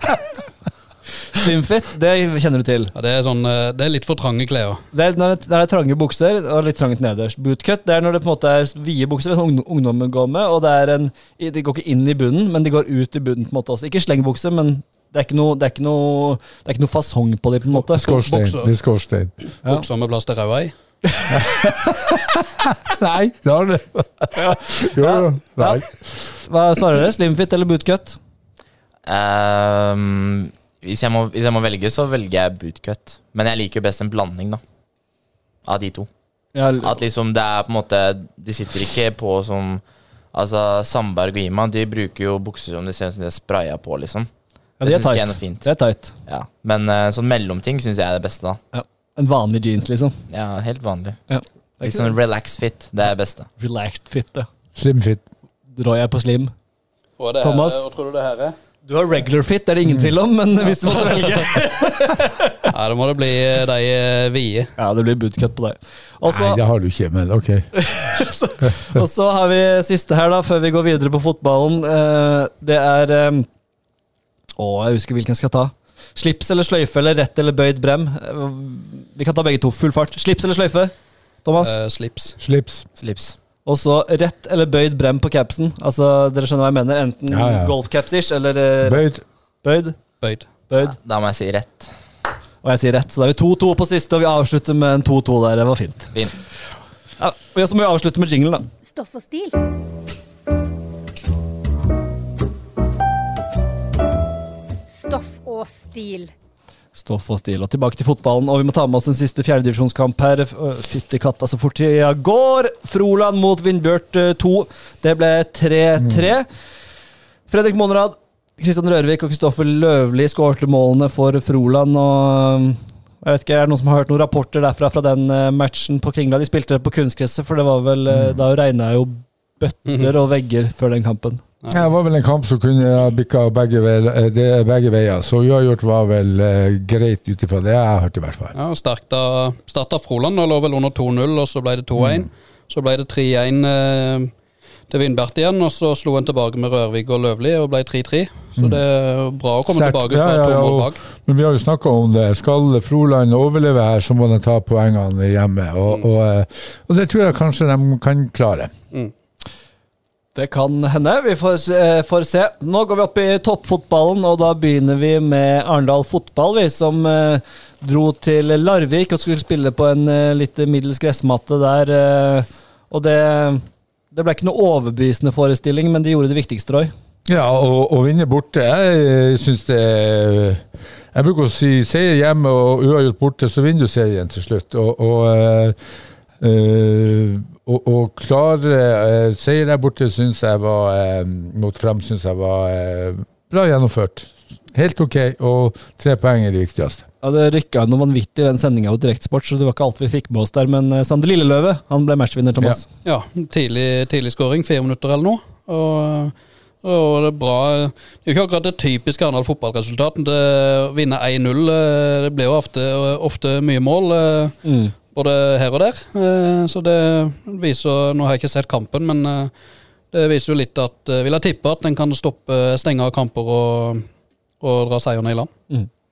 Slimfit, det kjenner du til.
Ja, det, er sånn, eh, det er litt for trange klær.
Det er når det, når det er trange bukser og litt trangt nederst. Bootcut det er når det på en måte er vide bukser som ung- ungdommen går med. og det er en, De går ikke inn i bunnen, men de går ut i bunnen. på en måte også. Ikke slengbukser, men det er ikke noe, det er ikke noe, det er ikke noe fasong på dem. på en måte.
Skorstein.
Bokser.
Det er skorstein.
Ja.
Bukser med plass til ræva i.
Nei, det har det. Jo, jo. Nei.
Hva svarer dere? Slimfit eller bootcut?
Ehm, hvis, jeg må, hvis jeg må velge, så velger jeg bootcut. Men jeg liker jo best en blanding da av de to.
Ja,
At liksom det er på en måte De sitter ikke på som Altså Sandberg og Iman De bruker jo bukser som de ser ut som de er spraya på, liksom.
det er
synes ikke jeg er
tight.
noe fint.
Det er tight.
Ja. Men eh, sånn mellomting syns jeg er det beste, da.
En vanlig jeans, liksom.
Ja, Helt vanlig.
Det er
Litt
ikke
sånn relax fit. Det er det beste.
relaxed fit, det.
Slimfit.
Drar jeg på slim?
Og det
er Thomas? det,
og tror du det her er?
Du har regular fit, det er det ingen tvil om, men hvis du måtte velge
Ja, da må det bli eh, de eh, vide.
Ja, det blir bootcut på deg. Og
Nei,
så-
det har du ikke, men ok.
og så har vi siste her, da, før vi går videre på fotballen. Eh, Det er eh, Å, jeg husker hvilken jeg skal ta. Slips eller sløyfe eller rett eller bøyd brem? Eh, Vi kan ta begge to. Full fart. Slips eller sløyfe? Thomas?
eh, slips.
Slips.
Slips.
Og så rett eller bøyd brem på capsen. Altså, Dere skjønner hva jeg mener? Enten
Ja, ja.
golfcaps-ish eller eh,
Bøyd.
bøyd.
Bøyd.
Bøyd.
Da må jeg si rett.
Og jeg sier rett, så da er vi 2-2 på siste, og vi avslutter med en 2-2 der. Det var fint.
Fint.
Ja, og så må vi avslutte med jinglen, da.
Stoff og stil. Stoff og stil.
Stoff og stil. Og tilbake til fotballen. Og vi må ta med oss en siste fjerdedivisjonskamp her. Øh, Fytti katta, så fort tida går! Froland mot Vindbjørt øh, 2. Det ble 3-3. Fredrik Monrad, Kristian Rørvik og Kristoffer Løvli skårte målene for Froland. Og øh, jeg vet ikke, Er det noen som har hørt noen rapporter derfra fra den øh, matchen på Kringla? De spilte på kunstgresset, for det var vel øh, Da regna jo bøtter og vegger før den kampen.
Ja, Det var vel en kamp som kunne ha bikka begge, ve- eh, det- begge veier, så uavgjort var vel eh, greit ut ifra det jeg har hørt, i hvert fall.
Ja, og starta, starta Froland og lå vel under 2-0, og så ble det 2-1. Så ble det 3-1 eh, til Vindbert igjen, og så slo en tilbake med Rørvik og Løvli og ble 3-3. Så det er bra å komme
Mm. Sterkt.
tilbake fra to mål
og-
bak.
Men vi har jo snakka om det. Skal Froland overleve her, så må de ta poengene hjemme. Og, og, eh, og det tror jeg kanskje de kan klare.
Det kan hende. Vi får, eh, får se. Nå går vi opp i toppfotballen, og da begynner vi med Arendal fotball, vi, som eh, dro til Larvik og skulle spille på en eh, litt middels gressmatte der. Eh, og det, det ble ikke noe overbevisende forestilling, men de gjorde det viktigste, Roy.
Ja, og, og vinne borte, jeg syns det er- Jeg bruker å si seier hjemme og uavgjort borte, så vinner du serien til slutt. Og, og, eh, eh, og, og klare eh, seier der borte syns jeg var eh, Mot Frem syns jeg var eh, bra gjennomført. Helt ok, og tre poeng er det viktigste.
Ja, Det rykka noe vanvittig i den sendinga på Direktsport, så det var ikke alt vi fikk med oss der. Men eh, Sander Lilleløve han ble matchvinner, Thomas.
Ja, tidlig, tidlig scoring, fire minutter eller noe. Og, og det er bra Det er jo ikke akkurat det typiske Arendal fotballresultat. men Det å vinne 1-0, eh, det blir jo ofte, ofte mye mål. eh,
Mm.
både her og der. Eh, Så det viser Nå har jeg ikke sett kampen, men eh, det viser jo litt at eh, Vil jeg tippe at en kan stoppe, stenge av kamper og, og dra seierne i land.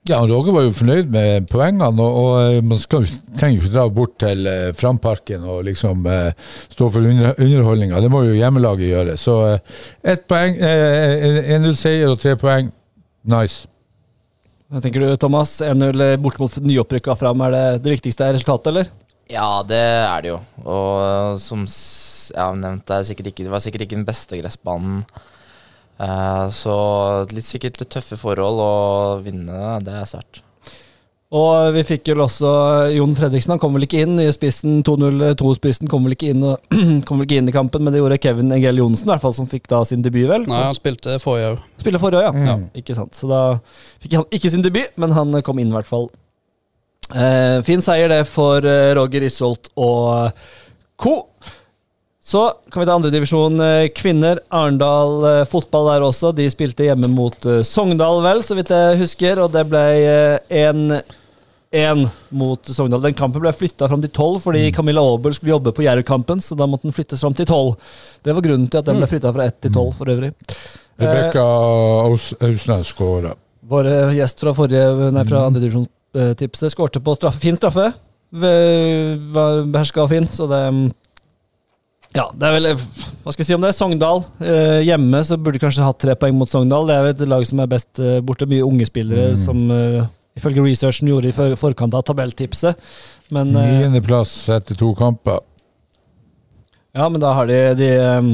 Ja, og Roger var jo fornøyd med poengene, og, og eh, man skal, jo- trenger jo ikke dra bort til eh, Framparken og liksom eh, stå for under, underholdninga. Det må jo hjemmelaget gjøre. Så eh, ett poeng, eh, 1-0-seier og tre poeng. Nice.
Hva tenker du, Thomas? 1-0 bort mot nyopprykka fram, er det det viktigste resultatet, eller?
Ja, det er det jo. Og eh, som s- jeg har nevnt, det, er sikkert ikke, det var sikkert ikke den beste gressbanen. Eh, så litt sikkert litt tøffe forhold å vinne, det er sterkt.
Og vi fikk vel også Jon Fredriksen. Han kom vel ikke inn. Nye spissen 2-0-2-spissen kom, vel ikke inn og- kom vel ikke inn i kampen, men det gjorde Kevin Engel Johnsen, i hvert fall, som fikk da sin debut, vel?
Nei, han spilte forrige òg.
Spiller forrige, ja. ja. Ikke sant. Så da fikk han ikke sin debut, men han kom inn, i hvert fall. Eh, fin seier, det, for eh, Roger Isholt og eh, co. Så kan vi ta andredivisjon eh, kvinner. Arendal eh, fotball der også. De spilte hjemme mot eh, Sogndal, vel, så vidt jeg husker, og det ble eh, 1-1 mot Sogndal. Den kampen ble flytta fram til 12 fordi Camilla Aabel skulle jobbe på Jerv-kampen, så da måtte den flyttes fram til 12. Det var grunnen til at den ble flytta fra 1 til 12 for øvrig. Eh,
Rebekka Aus- Ausland skåra.
Vår eh, gjest fra forrige, nei, fra andredivisjonstipset skårte på straffe, fin straffe. Ve- var Beherska og fin, så det mm, Ja, det er vel eh, Hva skal vi si om det? Sogndal. Eh, hjemme så burde de kanskje hatt tre poeng mot Sogndal. Det er jo et lag som er best eh, borte. Mye unge spillere som eh, ifølge researchen gjorde i for forkant av tabelltipset. Men eh,
Niendeplass etter to kamper.
ja, men da har de, de eh,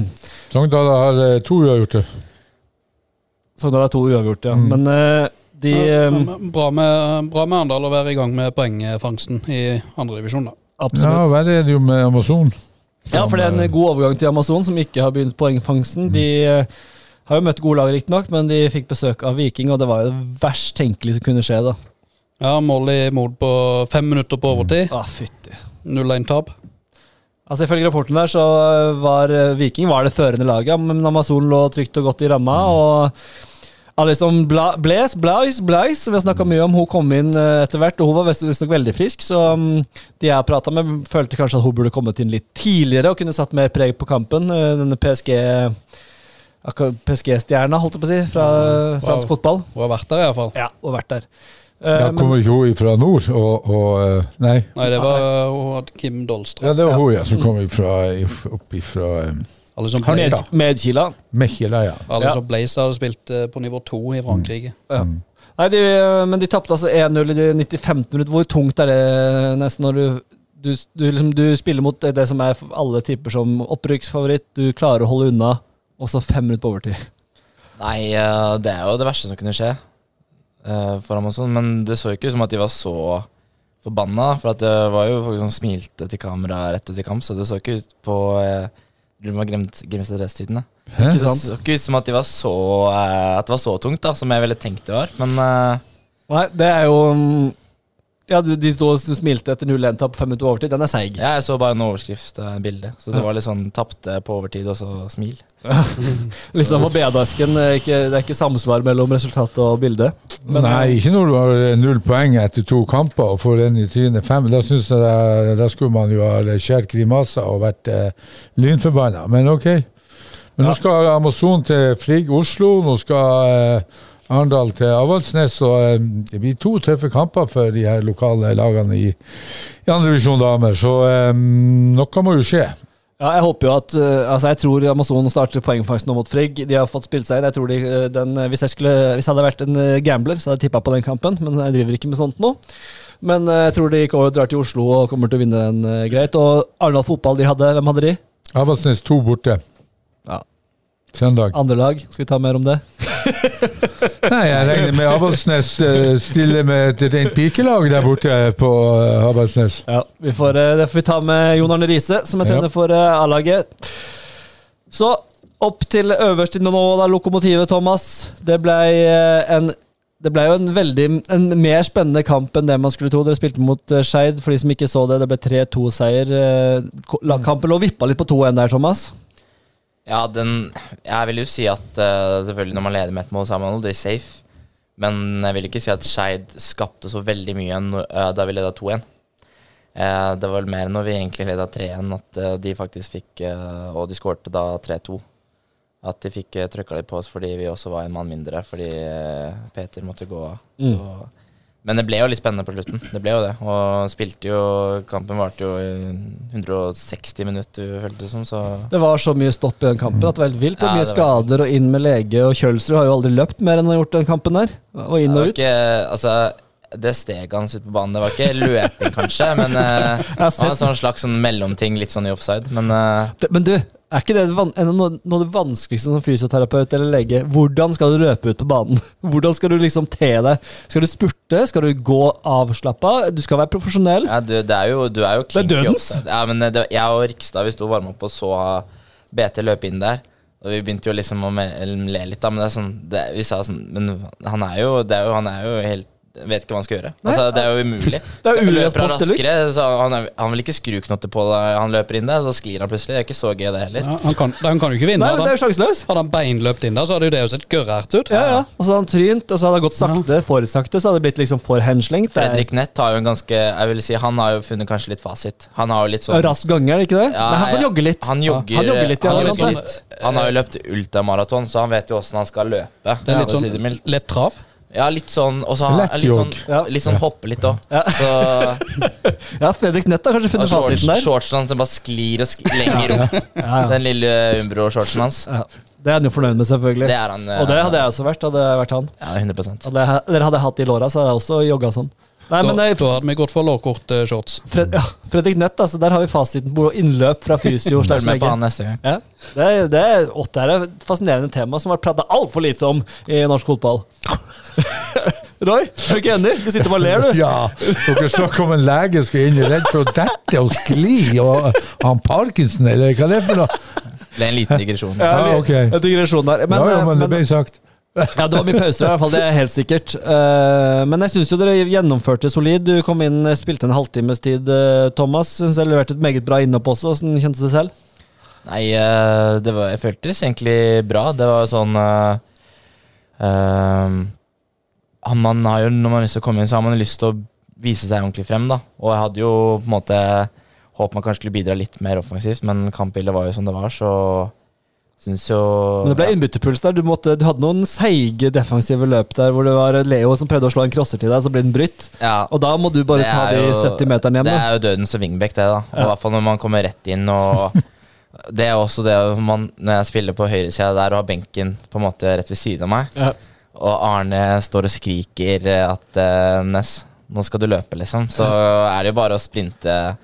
Sogndal har eh, to uavgjorte.
Sogndal har to uavgjort, ja. Men eh, de
Ja,
eh,
men Bra med, bra med Arendal å være i gang med poengfangsten i andredivisjon, da.
Ja,
Absolutt.
verre er det jo med Amazon.
Ja, for det er en god overgang til Amazon, som ikke har begynt poengfangsten. De eh, har jo møtt gode lag, riktignok, men de fikk besøk av Viking, og det var jo det verst tenkelige som kunne skje, da.
Ja, mål i Mod på fem minutter på overtid.
Ah, fytti.
0-1-tap.
Altså Ifølge rapporten der så var eh, Viking var det førende laget, men Amazon lå trygt og godt i ramma. og Alison Bla Blaise, Blaise, Blaise, som vi har snakka mye om, hun kom inn eh, etter hvert, og hun var visst- visstnok veldig frisk, så mm, de jeg prata med, følte kanskje at hun burde kommet inn litt tidligere og kunne satt mer preg på kampen. eh, Denne PSG akka- PSG-stjerna, holdt jeg på å si, fra fransk fotball.
Hun har vært der, iallfall.
Ja, og vært der. Eh,
Ja,
men-
kommer ikke hun fra nord og, og eh, Nei.
Nei, det var hun hadde Kim Dolstra.
Ja, det var hun, ja, som kom ifra, if- opp ifra um,
Alle som
Med,
Blaze,
med Kila.
Mechela, ja.
alle
Ja.
som Blaze hadde spilt eh, på nivå to i Frankrike.
Ja. Nei, de, men de tapte altså 1-0 i de 95 minutter. Hvor tungt er det nesten når du du, du, liksom, du spiller mot det som er for alle typer som opprykksfavoritt. Du klarer å holde unna, og så fem minutter på overtid.
Nei, eh, det er jo det verste som kunne skje eh, for Amazon. Men det så jo ikke ut som at de var så forbanna. For at det var jo folk som smilte til kamera rett ut i kamp, så det så ikke ut på eh, Rulma Grimstad Racetidene.
Hæ?
Det så ikke ut som at, de var så, eh, at det var så tungt, da, som jeg ville tenkt det var. Men eh,
Nei, det er jo mm, Ja, du- de sto og smilte etter 0-1-tap fem minutter på overtid. Den er seig.
ja, jeg så bare en overskrift og et bilde. Så det var litt sånn tapte på overtid, og så smil.
Litt sånn på bedasken. eh, Ikke, det er ikke samsvar mellom resultatet og bildet.
Nei, ikke når du har eh, null poeng etter to kamper og får en i trynet fem. Da synes jeg da, da skulle man jo ha skjært grimaser og vært eh, lynforbanna, men ok. Men nå skal Amazon til Frigg Oslo, nå skal eh, Arendal til Avaldsnes, og eh, det blir to tøffe kamper for de her lokale lagene i, i andredivisjon damer, så eh, noe må jo skje.
Ja, jeg håper jo at eh, Altså, jeg tror Amazon starter poengfangsten nå mot Frigg. De har fått spilt seg inn. Jeg tror de, eh, den, eh, hvis, jeg skulle, hvis jeg hadde vært en eh, gambler, så hadde jeg tippa på den kampen, men jeg driver ikke med sånt nå. Men eh, jeg tror de går, drar til Oslo og kommer til å vinne den eh, greit. Og Arendal fotball, de hadde Hvem hadde de?
Avaldsnes to borte.
Ja.
Søndag.
Andre lag. Skal vi ta mer om det?
Nei, jeg regner med Avaldsnes eh, stiller med et rent pikelag der borte på eh, Avaldsnes.
Ja, vi får, eh, Det får vi ta med Jon Arne Riise, som er
Ja.
trener for eh, A-laget. Så opp til øverst i nå, da, lokomotivet, Thomas. Det ble eh, en det ble jo en veldig, en mer spennende kamp enn det man skulle tro. Dere spilte mot eh, Skeid, for de som ikke så det. Det ble 3-2-seier. Eh, Kampen lå og vippa litt på 2-1 der, Thomas.
Ja, den Jeg vil jo si at eh, selvfølgelig når man leder med ett mål, så er man aldri safe. Men jeg vil ikke si at Skeid skapte så veldig mye når, eh, da vi leda 2-1. Eh, det var vel mer når vi egentlig leda 3-1, at eh, de faktisk fikk eh, Og de skårte da 3-2. At de fikk uh, trøkka litt på oss fordi vi også var en mann mindre, fordi eh, Peter måtte gå av. Så- Men det ble jo litt spennende på slutten. Det ble jo det. Og spilte jo Kampen varte jo i 160 minutter, føltes det som, så
Det var så mye stopp i den kampen at det var helt vilt. Og
Ja, det
mye
var
skader og inn med lege. Og Kjølsrud har jo aldri løpt mer enn han har gjort den kampen der. Og
Det
inn og
var
ut.
ikke, altså, det steget hans ut på banen, det var ikke løping, kanskje, men eh, det
har
var en sånn slags sånn mellomting, litt sånn i offside. Men eh,
Det, men du, er ikke det van- en av noe, noe av det vanskeligste som fysioterapeut eller lege? Hvordan skal du løpe ut på banen? Hvordan skal du liksom te deg? Skal du spurte? Skal du gå avslappa? Du skal være profesjonell.
ja, du, det er jo, du er jo
er
klink i
dødens.
offside. Ja, men eh, det, jeg og Rikstad vi sto og varma opp og så BT løpe inn der. Og vi begynte jo liksom å me- le litt, da, men det er sånn, det, vi sa sånn Men han er jo, det er jo, han er jo helt Vet ikke hva han skal gjøre.
Nei,
altså, det er jo umulig.
det er
Løper
jo
han
uløst post deluxe.
raskere, så han, er, han vil ikke skru knotter på deg. Han løper inn der, så sklir han plutselig. Det er ikke så gøy, det heller.
Ja, han, kan, han kan jo ikke vinne.
Nei, men det er
Hadde han,
jo sjanseløs.
hadde han beinløpt inn der, så hadde jo det jo sett gørrært ut.
Ja, ja. Og så hadde han trynt, og så hadde han gått sakte, for sakte, så hadde det blitt liksom for henslengt. Det er-
Fredrik Nett har jo en ganske Jeg vil si Han har jo funnet kanskje litt fasit. Han har jo litt sånn
Rask ganger, er det ikke det?
Ja,
Nei, han får
ja,
jogge litt.
Han jogger,
han jogger litt, ja,
han,
det er
jogger
sant
litt. han har jo løpt ultramaraton, så han vet jo åssen han skal løpe.
Det er litt
for å si det
sånn
mildt.
lett trav.
Ja, litt sånn, og så
Lett
litt sånn,
jogg.
Ja.
litt sånn hoppe litt òg.
Ja.
Så
Ja, Fredrik Nett har kanskje
og
funnet
shorts,
fasiten der.
shortsen hans den bare sklir og sklir lenger opp.
Ja, ja.
Den lille Umbro-shortsen hans.
Ja. Det er han jo fornøyd med, selvfølgelig.
Det er han. eh,
Og det hadde jeg også vært. hadde jeg vært han.
Ja, 100
Hadde jeg, eller hadde jeg hatt de låra, så hadde jeg også jogga sånn. Nei, men
da,
eh,
da hadde vi gått for eh, lårkortshorts.
Fred, ja, Fredrik Nett, altså, der har vi fasiten på innløp fra fysio. slash
Følg med på
lege.
han neste gang.
Ja, det, er- det er å, det er et fascinerende tema som har vært prata altfor lite om i norsk fotball. Roy, er du ikke enig? Du sitter bare og ler, du.
Ja, dere snakker om en lege som er inne redd for å dette og skli, og eh, han Parkinson, eller hva det er for noe?
Det er en liten digresjon.
Ja, ok.
En digresjon der. Men,
ja,
eh,
ja, men det
men-
ble sagt.
ja, det var mye pauser, i hvert fall, det er helt sikkert. Eh, men jeg syns jo dere gjennomførte solid. Du kom inn, eh, spilte en halvtimes tid. eh, Thomas syns jeg leverte et meget bra innhopp også. Hvordan kjentes det selv?
Nei, eh, det var, jeg føltes egentlig bra. Det var jo sånn eh, eh, han- man har jo, Når man har lyst til å komme inn, så har man jo lyst til å vise seg ordentlig frem. da. Og jeg hadde jo på en måte håpet man kanskje skulle bidra litt mer offensivt, men kampbildet var jo som det var, så syns jo
Men det ble innbytterpuls der. Du, måtte, du hadde noen seige defensive løp der hvor det var Leo som prøvde å slå en crosser til deg, så ble den brytt.
ja,
Og da må du bare
Det
ta
er
de
jo-
70 meterne
Det
hjem. Da.
er jo dødens wingback, det, da. Og I hvert fall når man kommer rett inn og Det er også det man, når jeg spiller på høyresida der og har benken på en måte rett ved siden av meg,
Ja.
og Arne står og skriker eh, at eh, Ness, nå skal du løpe, liksom, så er det jo bare å sprinte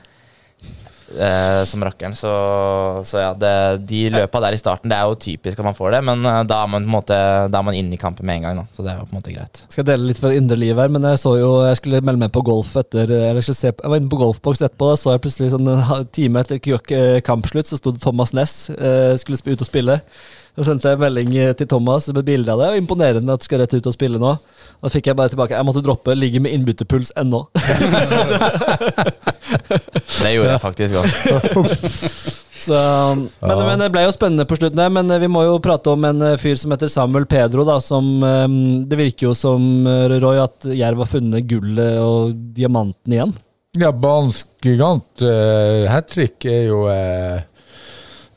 eh, som rakkeren. Så, så ja, det, de løpa der i starten, det er jo typisk at man får det, men eh, da er man på en måte Da er man inne i kampen med en gang, da. Så det er jo på en måte greit.
Skal dele litt fra indre liv her, men jeg så jo Jeg skulle melde meg på golf etter Eller jeg, skulle se, på- jeg var inne på golfboks etterpå, da så jeg plutselig sånn en halv time etter kjøk- eh, kampslutt, så sto det Thomas Ness eh, skulle sp- ut og spille. Så sendte jeg en melding eh, til Thomas med bilde av det. og Imponerende at du skal rett ut og spille nå. Da fikk jeg bare tilbake Jeg måtte droppe, ligger med innbytterpuls ennå.
Det gjorde jeg faktisk òg.
Så, men, men det ble jo spennende på slutten, der, men eh, vi må jo prate om en eh, fyr som heter Samuel Pedro. Da, som, eh, det virker jo som eh, Roy at Jerv har funnet gullet og diamanten igjen.
Ja, banens gigant uh, hat trick er jo eh,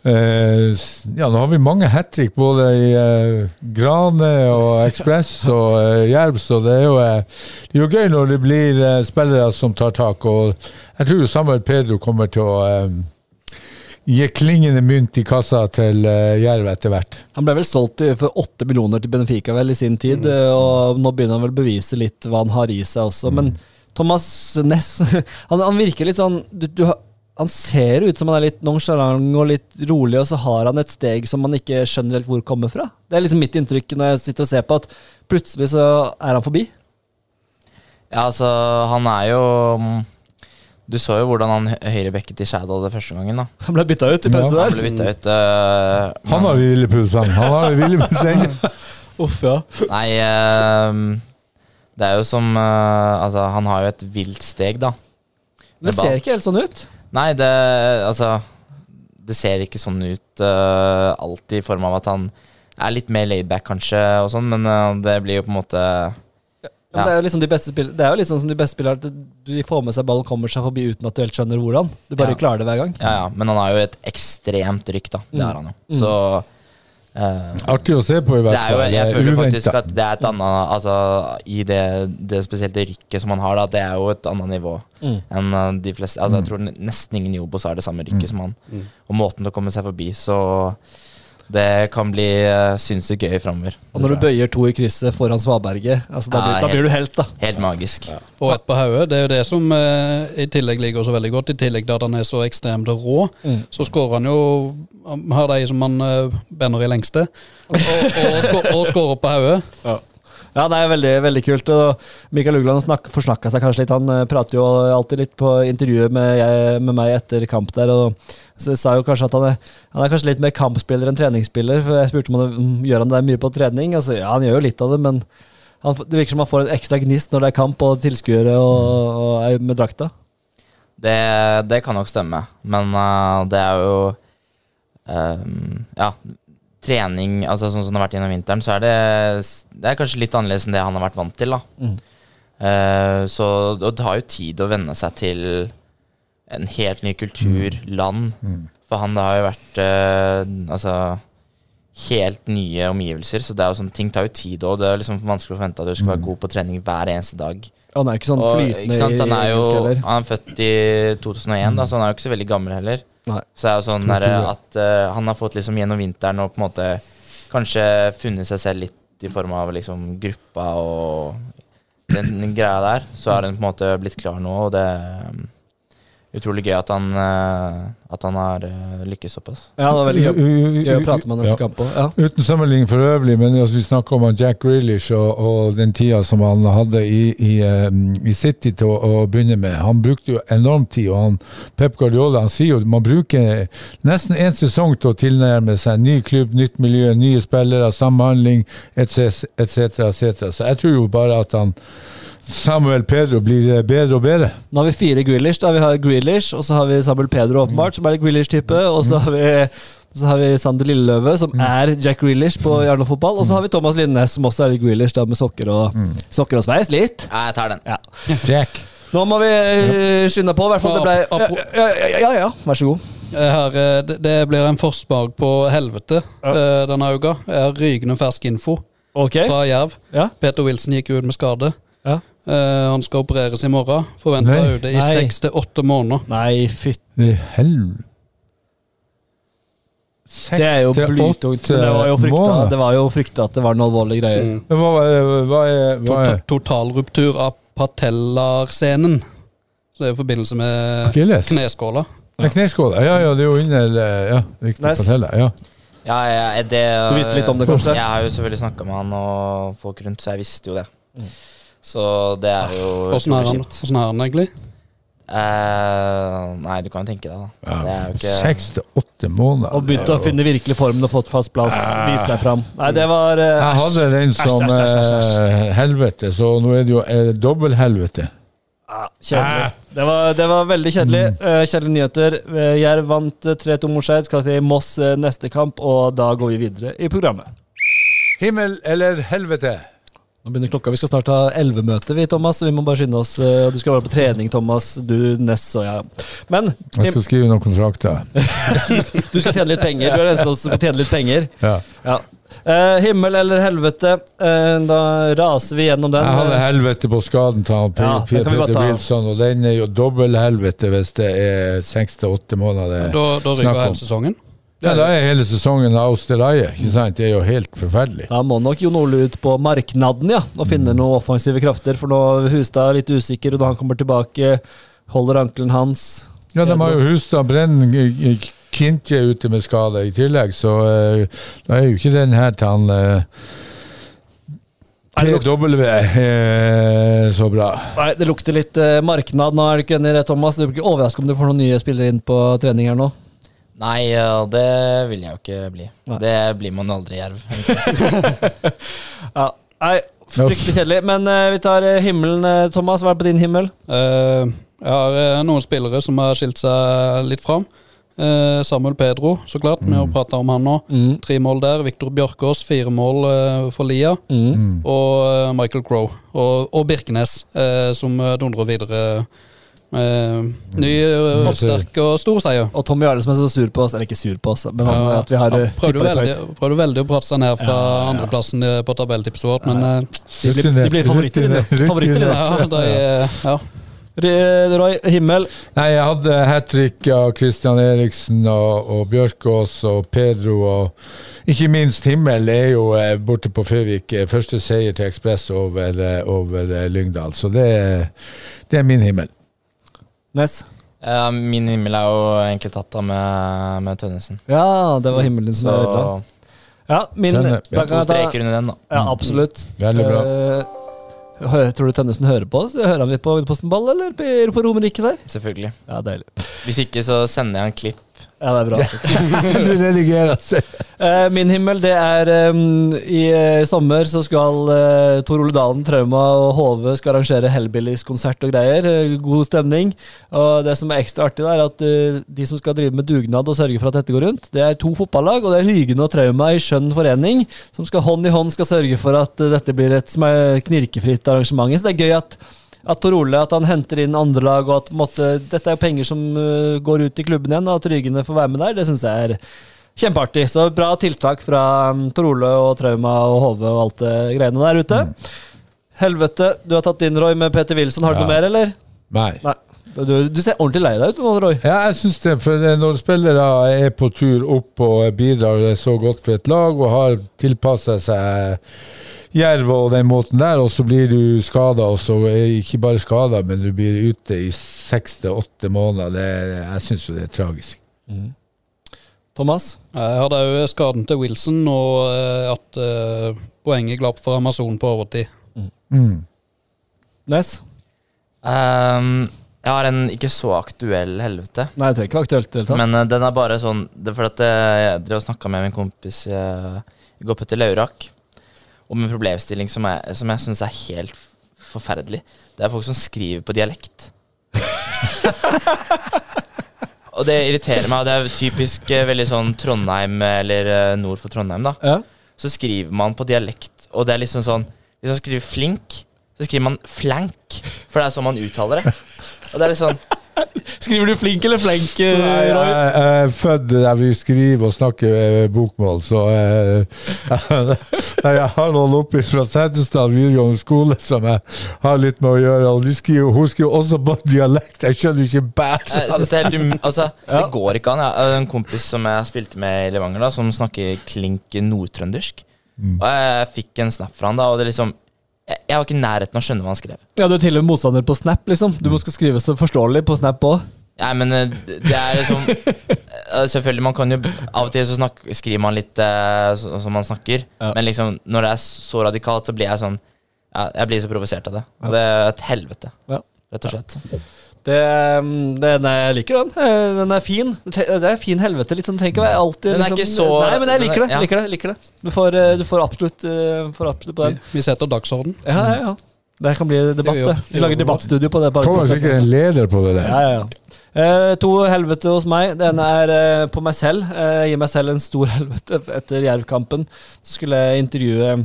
eh, s- Ja, nå har vi mange hat trick både i eh, Grane og Ekspress og eh, Jerv, så det er, jo, eh, det er jo gøy når det blir eh, spillere som tar tak. Og jeg tror jo Samuel Pedro kommer til å eh, gi klingende mynt i kassa til eh, Jerv etter hvert.
Han ble vel solgt til- for åtte millioner til Benfica vel i sin tid, eh, og nå begynner han vel å bevise litt hva han har i seg også. Men Thomas Næss han, han virker litt sånn du, du, har- Han ser ut som han er litt nonchalant og litt rolig, og så har han et steg som man ikke skjønner helt hvor kommer fra. Det er liksom mitt inntrykk når jeg sitter og ser på, at plutselig så er han forbi.
Ja, altså, han er jo mm, Du så jo hvordan han hø- høyrebekket i Shadow det første gangen. da
Han ble bytta ut
Ja.
i
Han
pause der.
ble bytta ut. øh,
Han har hvilepuls, han. Han har hvilepuls ennå.
Uff, ja.
Nei, øh, det er jo som øh, Altså, han har jo et vilt steg, da.
Men det
Med ball.
ser ikke helt sånn ut.
Nei, det Altså, det ser ikke sånn ut øh, alltid i form av at han er litt mer laidback, kanskje, og sånn, men øh, det blir jo på en måte
Men Det er jo liksom de beste spill- Det er jo litt sånn som de beste spillerne, at de får med seg ballen, kommer seg forbi uten at du helt skjønner hvordan. Du bare
Ja.
klarer det hver gang.
Ja, ja, men han har jo et ekstremt rykk, da. Det har han jo. Så øh,
Artig å se på, i
Det
hvert
er jo,
fall.
jeg føler faktisk
uventet.
at det er et annet altså, I det, det spesielt det rykket som man har, da, det er jo et annet nivå
Mm.
enn uh, de fleste altså, Jeg tror ne- nesten ingen i Obos har det samme rykket som han.
Mm.
Og måten til å komme seg forbi, så det kan bli uh, sinnssykt gøy framover.
Og når du bøyer to i krysset foran Svaberget, altså, da,
Ja,
blir, da
helt-
blir du helt, da.
Helt magisk.
Og ett på hodet. Det er jo det som eh, i tillegg ligger så veldig godt. I tillegg til at han er så ekstremt rå,
Mm.
så skårer han jo Han har de som han eh, banner i lengste, og, og, skå- og skårer på hodet.
Ja, det er veldig, veldig kult. Og Mikael Ugland snak, forsnakka seg kanskje litt. Han eh, prater jo alltid litt på intervjuet med, jeg, med meg etter kamp der, og så sa jo kanskje at han er, han er kanskje litt mer kampspiller enn treningsspiller. For jeg spurte om han mm, gjør han det der mye på trening. Altså, ja, han gjør jo litt av det, men han, f- det virker som han får en ekstra gnist når det er kamp og tilskuere og, og er med drakta.
Det, det kan nok stemme, men eh, det er jo ehm, Ja, trening altså Sånn som det har vært gjennom vinteren, så er det Det er kanskje litt annerledes enn det han har vært vant til. da Eh, Så og det tar jo tid å venne seg til en helt ny kultur, land. For han det har jo vært eh, altså helt nye omgivelser, så det er jo sånn, ting tar jo tid òg. Det er liksom vanskelig å forvente at du skal være god på trening hver eneste dag.
Han er ikke sånn
Og,
flytende
ikke sant? Han er jo
engelsk heller.
han er født i 2001, da, så han er jo ikke så veldig gammel heller.
Nei.
Så det er jo sånn der, at eh, han har fått liksom gjennom vinteren og på en måte kanskje funnet seg selv litt i form av liksom gruppa og den, greia der. Så har han på en måte blitt klar nå, og det er um, utrolig gøy at han, eh, at han har eh, lykkes såpass.
Ja, det var veldig gøy. gøy å prate med han
Ja.
etter kamp også. Ja.
Uten sammenligning for øvrig, men altså, vi snakker om han Jack Grealish og, og den tida som han hadde i, i, eh, i City til å, å begynne med. Han brukte jo enormt tid, og han, Pep Guardiola han sier jo man bruker nesten én sesong til å tilnærme seg ny klubb, nytt miljø, nye spillere, samhandling etc. etc. Så jeg tror jo bare at han Samuel Pedro blir eh, bedre og bedre.
Nå har vi fire Grealish. da Vi har Grealish, og så har vi Samuel Pedro, åpenbart, som er en Grealish-type. Og så har vi så har vi Sander Lilleløve, som er Jack Grealish på Jarlov fotball. Og så har vi Thomas Lindnes, som også er litt Grealish, da med sokker og, sokker og sveis. Litt.
Ja, jeg tar den.
Ja.
Jack.
Nå må vi eh, skynde på, i hvert fall. Det ble
Ja, apro-
ja, ja, ja, ja, vær så god.
Jeg har, eh, det, det blir en forsmak på helvete eh, denne uka. Jeg har rykende fersk info
Ok.
fra Jerv.
Ja.
Peter Wilson gikk ut med skade.
Ja.
Eh, han skal opereres i morgen. Forventa
Nei.
ute i
Nei.
seks til åtte måneder.
Nei, fytti
I helvete
Det er jo blytungt. men Det var jo frykta, det var jo frykta at det var noe alvorlige greier.
Mm.
Hva, hva, hva, er- hva
Tota
er
totalruptur av patellarscenen. Så det er i forbindelse med
Achilles?
kneskåla.
Ja. Kneskåla. Ja, ja, det er jo under eh, Ja, riktig
Nice.
nice. fortelle. Ja.
Ja, ja, det,
Du visste litt om det, kanskje?
Jeg har jo selvfølgelig snakka med han og folk rundt, så jeg visste jo det.
Mm.
Så det er jo
Åssen er,
utrolig
han-
kjipt.
hvordan er han egentlig?
Eh, nei, du kan jo tenke deg, da. Det er jo ikke
Seks til åtte måneder.
Og
Det
begynte å
er jo-
finne virkelig formen og fått fast plass. Vise seg fram. Nei, det var eh,
Jeg hadde den som
æsj, æsj, æsj, æsj.
eh, helvete, så nå er det jo eh, dobbelthelvete.
Ja, Kjedelig. Det var, det var veldig kjedelig. Eh, Kjedelige nyheter. Eh, Jerv vant eh, 3-2 mot Skeid, skal til Moss eh, neste kamp, og da går vi videre i programmet.
Himmel eller helvete?
Nå begynner klokka. Vi skal snart ha 11-møte, vi, Thomas. så Vi må bare skynde oss. eh, og Du skal være på trening, Thomas. Du, Ness og jeg. Men
Jeg skal skrive noen kontrakter.
du skal tjene litt penger. Du er den eneste som tjener litt penger.
Ja.
Ja. Eh, himmel eller helvete. Eh, da raser vi gjennom den.
Jeg hadde helvete på skaden til han
eh, Ja,
Pe-
det kan vi godt
Peter
ta.
Wilson, og den er jo dobbelthelvete hvis det er seks til åtte måneder.
Da, da
Snakk
ryker
om.
hele sesongen.
Ja, da er hele sesongen Austerleie, ikke sant? Det er jo helt forferdelig.
Da må nok Jon Ole ut på marknaden ja, og finne noen offensive krafter. For nå er Hustad er litt usikker, og når han kommer tilbake, holder ankelen hans.
Ja, de har jo Hustad Brennen G- G- Kintje er ute med skade i tillegg, så eh, da er jo ikke den her til han eh,
Er det nok-
TW eh, så bra.
Nei, det lukter litt eh, marknad nå, er du ikke enig i det, Thomas? Du blir ikke overrasket om du får noen nye spillere inn på trening her nå.
Nei, ja, det vil jeg jo ikke bli.
Nei.
Det blir man aldri i jerv.
Ja, nei, Fryktelig kjedelig. Men eh, vi tar eh, himmelen, eh, Thomas. Hva er det på din himmel?
Eh, jeg har eh, noen spillere som har skilt seg litt fram. Eh, Samuel Pedro, så klart. Vi har prata om han nå.
Mm.
Tre mål der. Viktor Bjørkås, fire mål eh, for Lia.
Mm.
Og eh, Michael Crowe. Og, og Birkenes, eh, som eh, dundrer videre. Eh, ny, eh, sterk og stor seier.
Og Tommy Jarle som er så sur på oss, eller ikke sur på oss, men han, at vi har
Ja,
eh,
prøvde,
tippet
veldig,
litt høyt.
prøvde veldig å prate seg ned fra andreplassen eh, på tabelltipset vårt, men eh,
De blir, de blir favoritter i det.
Rutinert,
Favoritter i det.
ja, de, eh, ja.
R- Roy, himmel.
Nei, jeg hadde hat trick av Christian Eriksen og, og Bjørkås og Pedro og ikke minst Himmel er jo eh, borte på Føvik. eh, Første seier til Ekspress over, eh, over eh, Lyngdal, så det, er- det er min himmel.
Ness.
Eh, min himmel er jo egentlig tatt av med, med Tønnesen.
Ja, det var himmelen som
Så
var ødela. Ja, min
Tønne.
da
to
kan jeg ta-
streker under den, da.
Ja, absolutt.
Mm. Veldig bra.
Eh, hø- tror du Tønnesen hører på oss? Hører han litt på Agderposten Ball, eller på på Romerike der?
Selvfølgelig.
Ja, deilig.
Hvis ikke så sender jeg en klipp.
Ja, det er bra.
Du redigerer seg.
Eh, min himmel, det er em, I eh, sommer så skal eh, Tor Ole Dalen, Trauma og HV skal arrangere Hellbillies-konsert og greier. Eh, god stemning. Og det som er ekstra artig, det er at eh, de som skal drive med dugnad og sørge for at dette går rundt, det er to fotballag, og det er Hygene og Trauma i skjønn forening, som skal hånd i hånd skal sørge for at eh, dette blir et som er knirkefritt arrangement. Så det er gøy at at Tor Ole at han henter inn andre lag, og at på en måte, dette er penger som eh, går ut til klubben igjen, og at Rygene får være med der, det syns jeg er Kjempeartig. Så bra tiltak fra mm, Tor Ole og Trauma og Hove og alt det greiene der ute. Helvete, du har tatt din, Roy, med Peter Wilson. Har du
Ja.
noe mer, eller?
Nei.
Nei. Du, du ser ordentlig lei deg ut nå, Roy.
Ja, jeg syns det. For eh, når spillere er på tur opp og bidrar så godt for et lag og har tilpassa seg Jerv og den måten der, og så blir du skada, og så er ikke bare skada, men du blir ute i seks til åtte måneder. Det, jeg syns jo det er tragisk.
Thomas?
Jeg hadde òg skaden til Wilson og eh, at eh, poenget glapp for Amazon på overtid.
Mm.
Nes?
Ehm, jeg har en ikke så aktuell helvete.
Nei, det trenger ikke være aktuelt i det hele tatt.
Men eh, den er bare sånn det er fordi at eh, Jeg drev og snakka med min kompis eh, i går til Laurak om en problemstilling som jeg, som jeg syns er helt f- forferdelig. Det er folk som skriver på dialekt. og det irriterer meg. og Det er typisk eh, veldig sånn Trondheim eh, eller eh, nord for Trondheim, da.
Ja.
Så skriver man på dialekt, og det er liksom sånn Hvis man skriver flink, så skriver man flank, for det er sånn man uttaler det. Og det er litt sånn
Skriver du flink eller flenk,
Jeg,
Roy?
jeg, jeg er født der vi skriver og snakker eh, bokmål, så eh, Nei, Jeg har noen oppe fra Setesdal videregående skole som jeg har litt med å gjøre, og de skriver, hun skriver også på dialekt. Jeg skjønner ikke bæsj!
Jeg synes det er helt um... Altså, det går ikke an. Jeg har en kompis som jeg spilte med i Levanger, da, som snakker klink nordtrøndersk.
Mm.
Og jeg fikk en snap fra han, da, og det liksom Jeg, jeg var ikke i nærheten av å skjønne hva han skrev.
Ja, du er til og med motstander på Snap, liksom. Du må skal skrive så forståelig på Snap òg.
Nei, men eh, det er liksom eh, Selvfølgelig, man kan jo Av og til så snak, skriver man litt eh, så- som man snakker,
Ja.
men liksom når det er så radikalt, så blir jeg sånn ja, Jeg blir så provosert av det. Og det er et helvete,
Ja.
rett og slett.
Det, mm, det, nei, jeg liker den. Eh, Den er fin. Det tre- det er fin helvete, liksom. Trenger ikke være alltid
Den er
liksom,
ikke så-
Nei, men jeg liker
den
det.
er- ja.
liker det, liker det. Du, får, eh, du får, absolutt, eh, får absolutt på
Vi,
den.
vi setter dagsorden.
Ja, ja, ja. Det her kan bli debatt,
Det gjør-
det. Vi
det
lager
gjør vi.
debattstudio på det. bare
Det
på
kommer
Snap.
sikkert en leder på det der.
Ja, ja, ja. Eh, to helvete hos meg. Den er eh, på meg selv. Eh, jeg gir meg selv en stor helvete etter Jerv-kampen. Så skulle jeg intervjue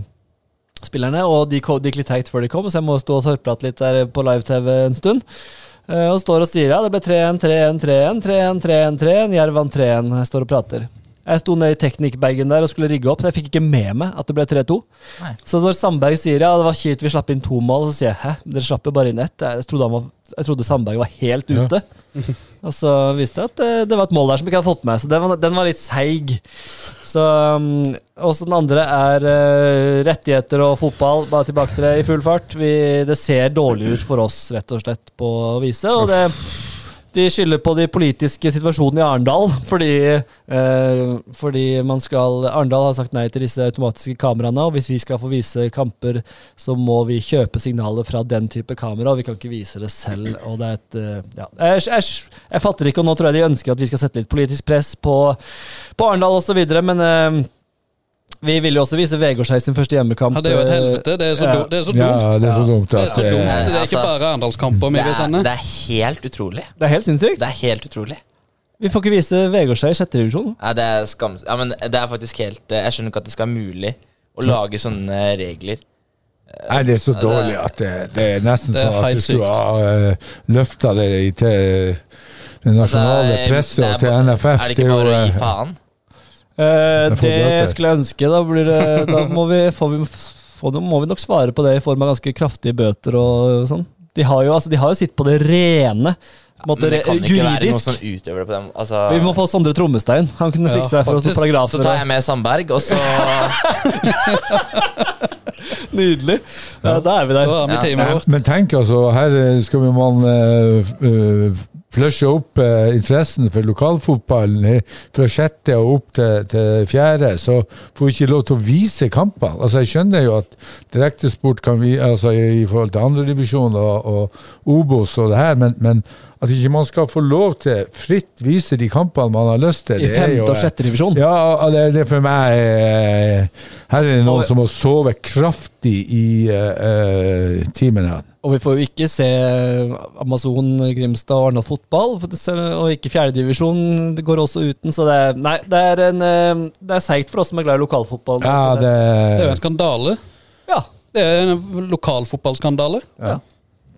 spillerne, og de, ko- de gikk litt teit før de kom, så jeg må stå og tørrprate litt der på live-TV en stund. Eh, og står og sier ja, det ble 3-1, 3-1, 3-1, 3-1, 3-1, 3-1, Jerv vant 3-1. Jeg står og prater. Jeg sto ned i teknikkbagen der og skulle rigge opp, så jeg fikk ikke med meg at det ble 3-2.
Nei.
Så når Sandberg sier ja, det var kjipt vi slapp inn to mål, så sier jeg hæ, dere slapp jo bare inn ett. Jeg trodde, han var, jeg trodde Sandberg var helt
Ja.
ute. Og så viste jeg at eh, det, det var et mål der som ikke hadde fått med meg, så den var, den var litt seig. Så um, Også den andre er eh, rettigheter og fotball. Bare tilbake til det i full fart. Vi, det ser dårlig ut for oss, rett og slett, på viset. Og det, de skylder på de politiske situasjonen i Arendal, fordi, eh, fordi man skal Arendal har sagt nei til disse automatiske kameraene, og hvis vi skal få vise kamper, så må vi kjøpe signaler fra den type kamera, og vi kan ikke vise det selv. Og det er et eh, ja. jeg, jeg, jeg fatter ikke, og nå tror jeg de ønsker at vi skal sette litt politisk press på, på Arendal osv., men eh, vi ville jo også vise Vegårshei sin første hjemmekamp.
Ja, det er jo et helvete. Det er så,
Ja.
do, det er så
Ja,
dumt.
det er så dumt.
Det er
At,
så
eh,
dumt. Det er ikke
Altså,
bare Arendalskamper vi
Det
vil
er,
sende.
det er helt utrolig.
Eh, Det er helt sinnssykt.
Det er helt utrolig.
Vi får ikke vise Vegårshei i sjette divisjon.
Nei, det er skam... Ja, men det er faktisk helt eh, Jeg skjønner ikke at det skal være mulig å lage sånne regler.
Nei, det er så dårlig at det, det er nesten
Det er
sånn at
helt
du skulle
sykt.
ha uh, løfta det i til det nasjonale
Altså,
presset
det er
og til
bare-
NFF.
Er det ikke bare å gi
eh,
faen?
Eh,
Da får du alt
det
det.
skulle jeg ønske. Da, blir det, da må, vi, får vi, får, må vi nok svare på det i form av ganske kraftige bøter og sånn. De har jo, altså, de har jo sitt på det rene. på en måte,
Men det kan ikke være sånn- noen
juridisk.
som utøver det på dem. Altså,
Vi må få Sondre Trommestein. Han kunne
Ja,
fikse det for oss noen
faktisk.
paragrafer.
så tar jeg med Sandberg, og så
Nydelig. Ja, da er vi der.
Da er vi
Ja.
teamet vårt.
Men tenk altså, her eh, skal vi man eh, f- eh, flushe opp eh, interessen for lokalfotballen i- fra sjette og opp til, til fjerde, så får vi ikke lov til å vise kampene. Altså, jeg skjønner jo at direktesport kan vi, altså i i forhold til andredivisjon og, og Obos og det her, men, men at ikke man skal få lov til fritt vise de kampene man har lyst til,
I
det er
femte
jo
og sjette divisjon.
ja, og det, det er for meg eh, Her er det noen som må sove kraftig i eh, eh, timen her.
Og vi får jo ikke se Amazon, Grimstad og Arendal fotball. For det ser, og ikke fjerdedivisjon. Det går også uten, så det er Nei, det er, en, eh, det er seigt for oss som er glad i lokalfotball.
Ja, det,
Det er jo en skandale.
ja.
Det er en lokalfotballskandale.
Ja.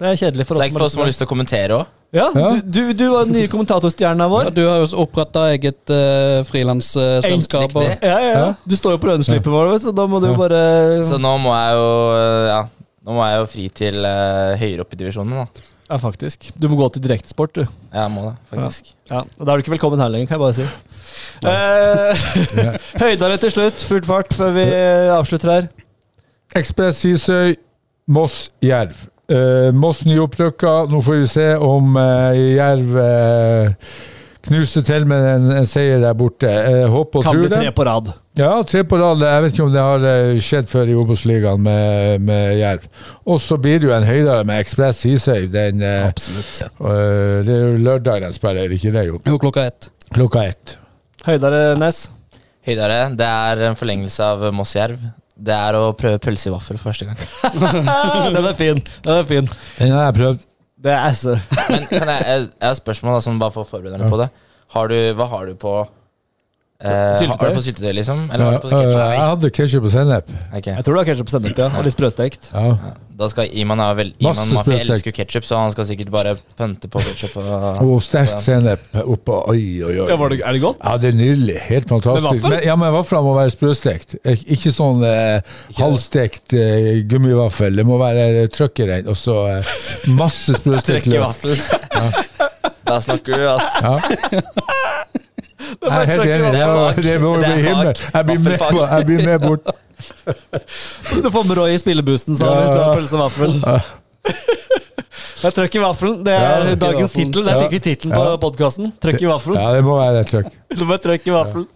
Det er kjedelig for oss.
Sterkt for oss som har lyst til å kommentere òg.
Ja,
Ja.
du, du, du var den nye kommentatorstjerna
Ja,
vår.
du har jo oppretta eget uh, frilansselskap.
Riktig.
Ja, ja, ja.
Ja.
Du står jo på lønnslippet vår, vet du, så da må du
Ja.
bare
Så nå må jeg jo eh, ja, Nå må jeg jo fri til eh, høyere opp i divisjonen. da
Ja, faktisk. Du må gå til direktesport, du.
Ja, Jeg må det, faktisk.
Ja, og Da er du ikke velkommen her lenger, kan jeg bare si. Eh, Høydare til slutt. Full fart før vi avslutter her.
Ekspress Hisøy, Moss Jerv. Eh, Moss nyopprykka. Nå får vi se om eh, Jerv eh, knuser til med en, en seier der borte. Eh, håper og
Kan
tror
bli
det.
tre på rad.
Ja, tre på rad. Jeg vet ikke om det har eh, skjedd før i Obos-ligaen med, med Jerv. Og så blir det jo en høydere med Ekspress Hisøy. Den, eh,
Absolutt.
eh, det er jo lørdag den spiller, er det ikke det? Jo,
Jo, klokka ett.
klokka ett.
Høydare Nes.
Høydare, det er en forlengelse av Moss Jerv. Det er å prøve pølse i vaffel for første gang.
Ah, den er fin. Den er fin.
Den har jeg prøvd.
Det er esse.
Men kan jeg, jeg, jeg har et spørsmål da, sånn bare for å forberede meg på det. Har du, hva har du på eh,
Syltetøy?
Har du på syltetøy, liksom? Eller har du på
Eh, eh, jeg
ketchup?
hadde ketsjup og sennep.
Jeg tror det var ketsjup og sennep, ja. Og litt sprøstekt.
Ja.
Da skal Iman ha vel
Masse
Iman Mafi
sprøstekt.
elsker ketsjup, så han skal sikkert bare pønte på ketsjup.
Og sterk sennep oppå. Oi, oi, oi.
Ja, var det, er det godt?
Ja, det er nydelig. Helt fantastisk.
Med vaffel?
Men, ja, men vafler må være sprøstekt. Ik- Ikke sånn eh, halvstekt eh, gummivaffel. Det må være trøkkeren, og så eh, masse sprøstekt
Trekke
løk.
vaffel. Da snakker du, altså.
Ja. Jeg er helt enig. Det
vaffel.
var- Det var
Det er
i himmelen.
fag.
Jeg blir med,
Vaffelfag.
på- jeg blir med bort.
Du får med Roy i spilleboosten, sa
Ja.
han. hvis du har Pølse og vaffel. Det er trøkk i vaffelen. Det er
Ja, trøkk i
dagens
vaffelen.
tittel. Der
Ja.
fikk vi tittelen på
Ja.
podkasten. Trøkk i vaffelen.
Ja, det må være trøkk.
Det var trøkk i vaffelen.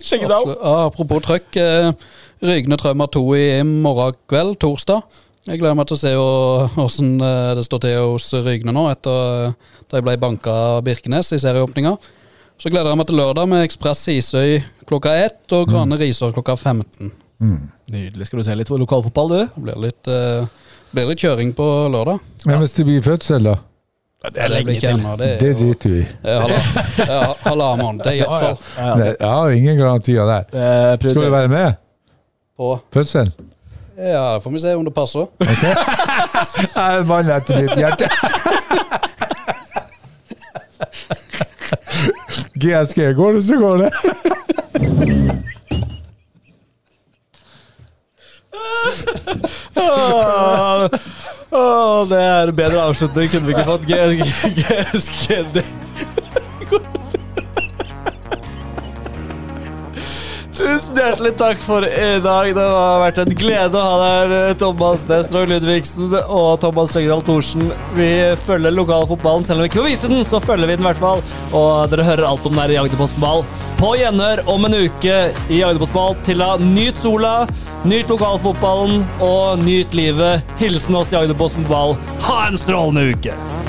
Skjeggedal.
Absolutt. Ja, apropos trøkk. Uh, Rygne Trauma 2 i morgen kveld, torsdag. Jeg gleder meg til å se åssen det står til hos Rygne nå, etter eh, da jeg ble banka av Birkenes i serieåpninga. Så gleder jeg meg til lørdag med Ekspress Isøy klokka ett og Grane Risør klokka 15.
Nydelig. Skal du se litt på lokalfotball, du?
Det blir litt, eh, blir litt kjøring på lørdag.
Men hvis det blir fødsel, da?
Det er
Det blir
lenge
ikke
til.
ennå, Det er
Det
jo-
driter vi i.
det er halva- det er halvannen måned, i hvert fall.
Det- Ja, ingen garantier der.
Eh, prioriter-
Skal du være med?
På
Fødselen?
Ja, får vi se om det passer.
Jeg er en mann etter mitt hjerte. GSG går det, så går det.
Åh, åh, det er en bedre avslutning. Kunne vi ikke fått G- GSGD? Tusen hjertelig takk for i dag. Det har vært en glede å ha deg her, Thomas Nestroy Ludvigsen og Thomas Søgdal Thorsen. Vi følger lokalfotballen, selv om vi ikke får vise den, så følger vi den i hvert fall. Og dere hører alt om den her i Agderposten Ball. På gjenhør om en uke i Agderposten Ball. Til da, nyt sola, nyt lokalfotballen og nyt livet. Hilsen oss i Agderposten Ball. Ha en strålende uke!